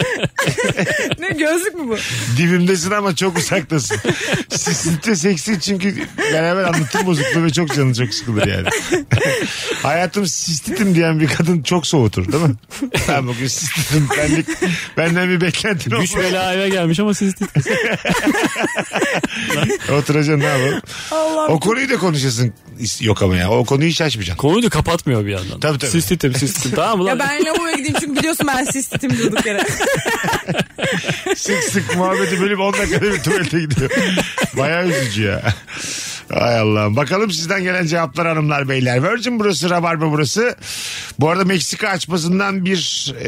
Ne gözlük mü bu? Dibimdesin ama çok uzaktasın. Sistit ve seksi çünkü beraber anlatım bozukluğu ve çok canı çok sıkılır yani. Hayatım sistitim diyen bir kadın çok soğutur değil mi? Ben bugün sistitim. Benlik, benden bir beklentin olmaz. Güç bela eve gelmiş ama sistit. kız. Oturacaksın ne yapalım? Allah'ım. O konuyu da konuşasın yok ama ya. O konuyu hiç açmayacaksın. Konuyu da kapatmıyor bir yandan. Tabii, tabii. Sistitim sistitim. Tamam mı lan? Ya ben lavaboya gideyim çünkü biliyorsun ben sistitim durduk yere. Sık sık muhabbeti bölüp 10 dakikada bir tuvalete gidiyor. Baya üzücü ya. Ay Allah'ım. Bakalım sizden gelen cevaplar hanımlar beyler. Virgin burası, Rabarba burası. Bu arada Meksika açmasından bir e,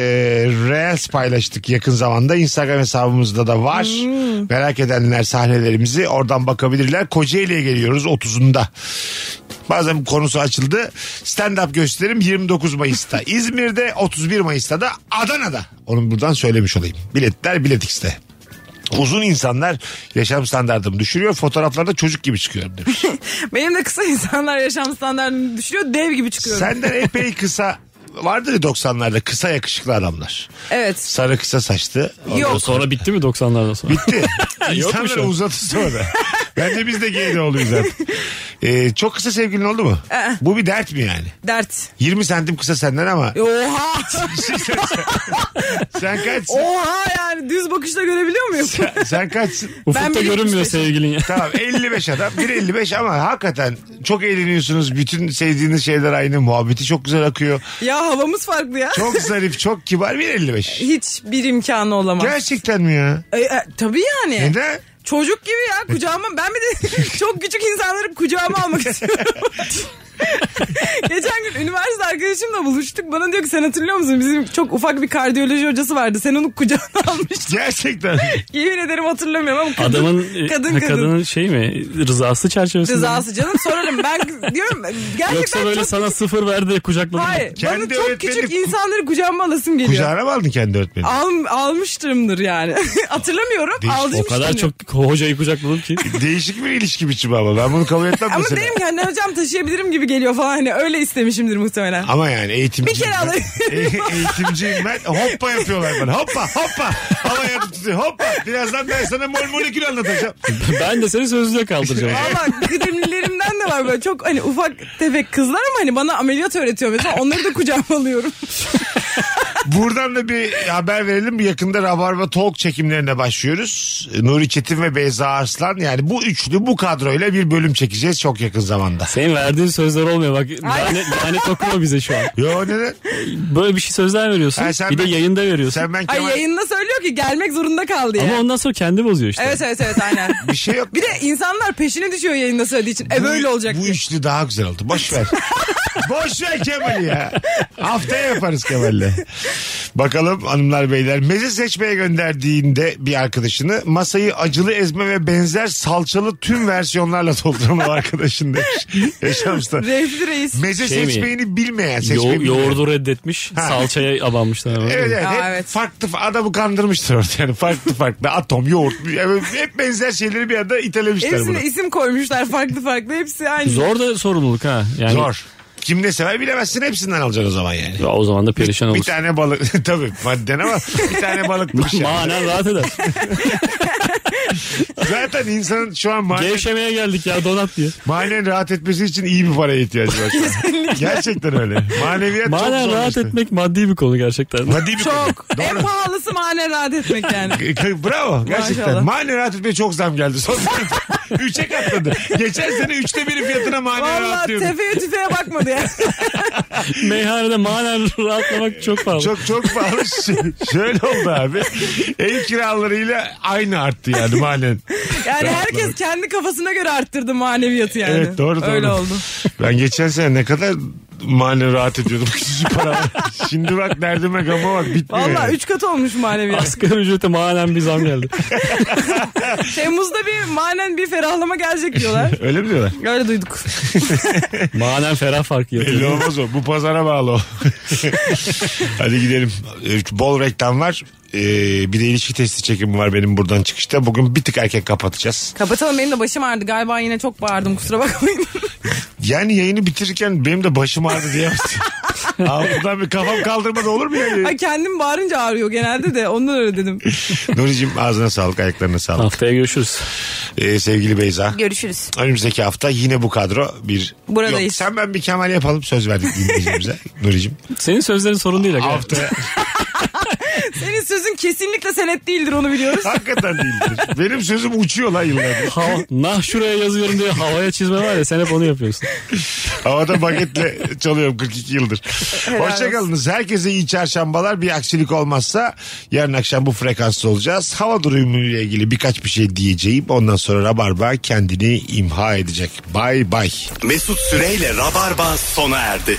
Reels paylaştık yakın zamanda. Instagram hesabımızda da var. Merak edenler sahnelerimizi oradan bakabilirler. Kocaeli'ye geliyoruz 30'unda. Bazen konusu açıldı. Stand-up gösterim 29 Mayıs'ta. İzmir'de 31 Mayıs'ta da Adana'da. Onu buradan söylemiş olayım. Biletler Biletix'te. Uzun insanlar yaşam standartımı düşürüyor. Fotoğraflarda çocuk gibi çıkıyorum demiş. Benim de kısa insanlar yaşam standartını düşürüyor. Dev gibi çıkıyorum. Senden epey kısa vardır ya 90'larda kısa yakışıklı adamlar. Evet. Sarı kısa saçlı. Yok. E, Sonra bitti mi 90'lardan sonra? Bitti. Yokmuş İnsanlar o. uzatır sonra. Bence biz de geyde oluyoruz artık. Ee, çok kısa sevgilin oldu mu? Ee. Bu bir dert mi yani? Dert. 20 santim kısa senden ama Oha. sen kaçsın? Oha yani düz bakışla görebiliyor muyum? sen kaçsın? Ben Ufukta bile görünmüyor 75. sevgilin ya. Tamam 55 adam. Bir 55 ama hakikaten çok eğleniyorsunuz. Bütün sevdiğiniz şeyler aynı. Muhabbeti çok güzel akıyor. ya havamız farklı ya. Çok zarif, çok kibar. Bir 55. Hiç bir imkanı olamaz. Gerçekten mi ya? E, e, tabii yani. Neden? Çocuk gibi ya kucağıma ben bir de çok küçük insanları kucağıma almak istiyorum. Geçen gün üniversite arkadaşımla buluştuk. Bana diyor ki sen hatırlıyor musun? Bizim çok ufak bir kardiyoloji hocası vardı. Sen onu kucağına almıştın. Gerçekten. Yemin ederim hatırlamıyorum ama kadın Adamın e, kadın, kadın, kadının şey mi rızası çerçevesinde. mi? rızası canım sorarım. Ben diyorum gerçekten Yoksa böyle çok... sana sıfır verdi de kucakladın. mı? Hayır Kendi bana çok öğretmenim- küçük insanları kucağıma alasım geliyor. Kucağına mı aldın kendi öğretmeni? Al, almıştımdır yani. hatırlamıyorum. Değiş- o O aldırmıştım kadar diyor. çok hocayı kucakladım ki. Değişik bir ilişki biçimi ama. Ben bunu kabul etmem Ama mesela. derim ki hani hocam taşıyabilirim gibi geliyor falan hani öyle istemişimdir muhtemelen. Ama yani eğitimci. Bir kere alayım. eğitimciyim ben. Hoppa yapıyorlar bana. Hoppa hoppa. Havaya tutuyor. Hoppa. Birazdan ben sana mol molekül anlatacağım. ben de seni sözlüğe kaldıracağım. Ama kıdemlilerimden de var böyle çok hani ufak tefek kızlar ama hani bana ameliyat öğretiyor mesela onları da kucağıma alıyorum. Buradan da bir haber verelim. Yakında Rabarba Talk çekimlerine başlıyoruz. Nuri Çetin ve Beyza Arslan. Yani bu üçlü bu kadroyla bir bölüm çekeceğiz çok yakın zamanda. Senin verdiğin sözler olmuyor bak. Lanet, lanet okuma bize şu an. Yo neden? Böyle bir şey sözler veriyorsun. Ha, sen bir de ben- yayında veriyorsun. Sen ben Ay Kemal- yayında söylüyor ki gelmek zorunda kaldı ya. Ama ondan sonra kendi bozuyor işte. Evet evet evet aynen. bir şey yok. Bir de insanlar peşine düşüyor yayında söylediği için. E böyle olacak. Bu üçlü daha güzel oldu. Boş ver. Boş ver Kemal'i ya. Haftaya yaparız Kemal'le. Bakalım hanımlar beyler. Meze seçmeye gönderdiğinde bir arkadaşını masayı acılı ezme ve benzer salçalı tüm versiyonlarla dolduran o arkadaşın demiş. Yaşamışlar. Refli reis. Meze Şey mi? seçmeyeni bilmeyen, Yo- seçmeyi bilmeyen. yoğurdu reddetmiş. Salçaya abanmışlar. ama. Evet, evet, Aa, hep evet. farklı adamı kandırmıştır orada yani farklı farklı atom yoğurt yani hep benzer şeyleri bir anda itelemişler bunu. Hepsine isim koymuşlar farklı farklı hepsi aynı. Zor da sorumluluk ha. Yani, Zor. Kim ne sever bilemezsin hepsinden alacaksın o zaman yani. Ya o zaman da perişan Bir olursun. tane şey. balık tabii madden ama bir tane balıklı bir şey. Manen rahat eder. Zaten insanın şu an manen, Gevşemeye geldik ya donat diye. manen rahat etmesi için iyi bir paraya ihtiyacı var. şu an. Gerçekten öyle. Maneviyat çok Manen zor rahat işte. etmek maddi bir konu gerçekten. Maddi bir konu. Çok. en pahalısı manen rahat etmek yani. K- k- Bravo gerçekten. Maşallah. Mane rahat etmeye çok zam geldi. Son sene üçe katladı. Geçen sene üçte biri fiyatına mane Valla rahat diyordu. tefeye tüfeğe bakmadı ya. Meyhanede manen rahatlamak çok pahalı. Çok çok pahalı. Ş- Şöyle oldu abi. Ev kiralarıyla aynı arttı yani manen. Yani herkes kendi kafasına göre arttırdı maneviyatı yani. Evet doğru doğru. Öyle oldu. Ben geçen sene ne kadar manen rahat ediyordum. Küçücük para. Şimdi bak derdime gama bak bitmiyor. Valla yani. üç kat olmuş maneviyat. Asgari ücrete manen bir zam geldi. Temmuz'da bir manen bir ferahlama gelecek diyorlar. Öyle mi diyorlar? Öyle duyduk. manen ferah farkı Belli yatıyor. olmaz o. Bu pazara bağlı o. Hadi gidelim. Ee, Bol reklam var. Ee, bir de ilişki testi çekimi var benim buradan çıkışta. Bugün bir tık erken kapatacağız. Kapatalım benim de başım ağrıdı galiba yine çok bağırdım kusura bakmayın. Yani yayını bitirirken benim de başım ağrıdı diyemezsin. Ağzımdan bir kafam kaldırmadı olur mu yani? Ay kendim bağırınca ağrıyor genelde de ondan öyle dedim. Nuri'cim ağzına sağlık, ayaklarına sağlık. Haftaya görüşürüz. Ee, sevgili Beyza. Görüşürüz. Önümüzdeki hafta yine bu kadro bir... Buradayız. Yok, sen ben bir Kemal yapalım söz verdik dinleyicimize. Nuri'cim. Senin sözlerin sorun değil. Aga. Haftaya Senin sözün kesinlikle senet değildir onu biliyoruz. hakikaten değildir. Benim sözüm uçuyor lan yıllardır. Hava, nah şuraya yazıyorum diye havaya çizme var ya sen hep onu yapıyorsun. Havada bagetle çalıyorum 42 yıldır. Hoşçakalınız. Herkese iyi çarşambalar. Bir aksilik olmazsa yarın akşam bu frekansta olacağız. Hava durumuyla ilgili birkaç bir şey diyeceğim. Ondan sonra Rabarba kendini imha edecek. Bay bay. Mesut Süreyle Rabarba sona erdi.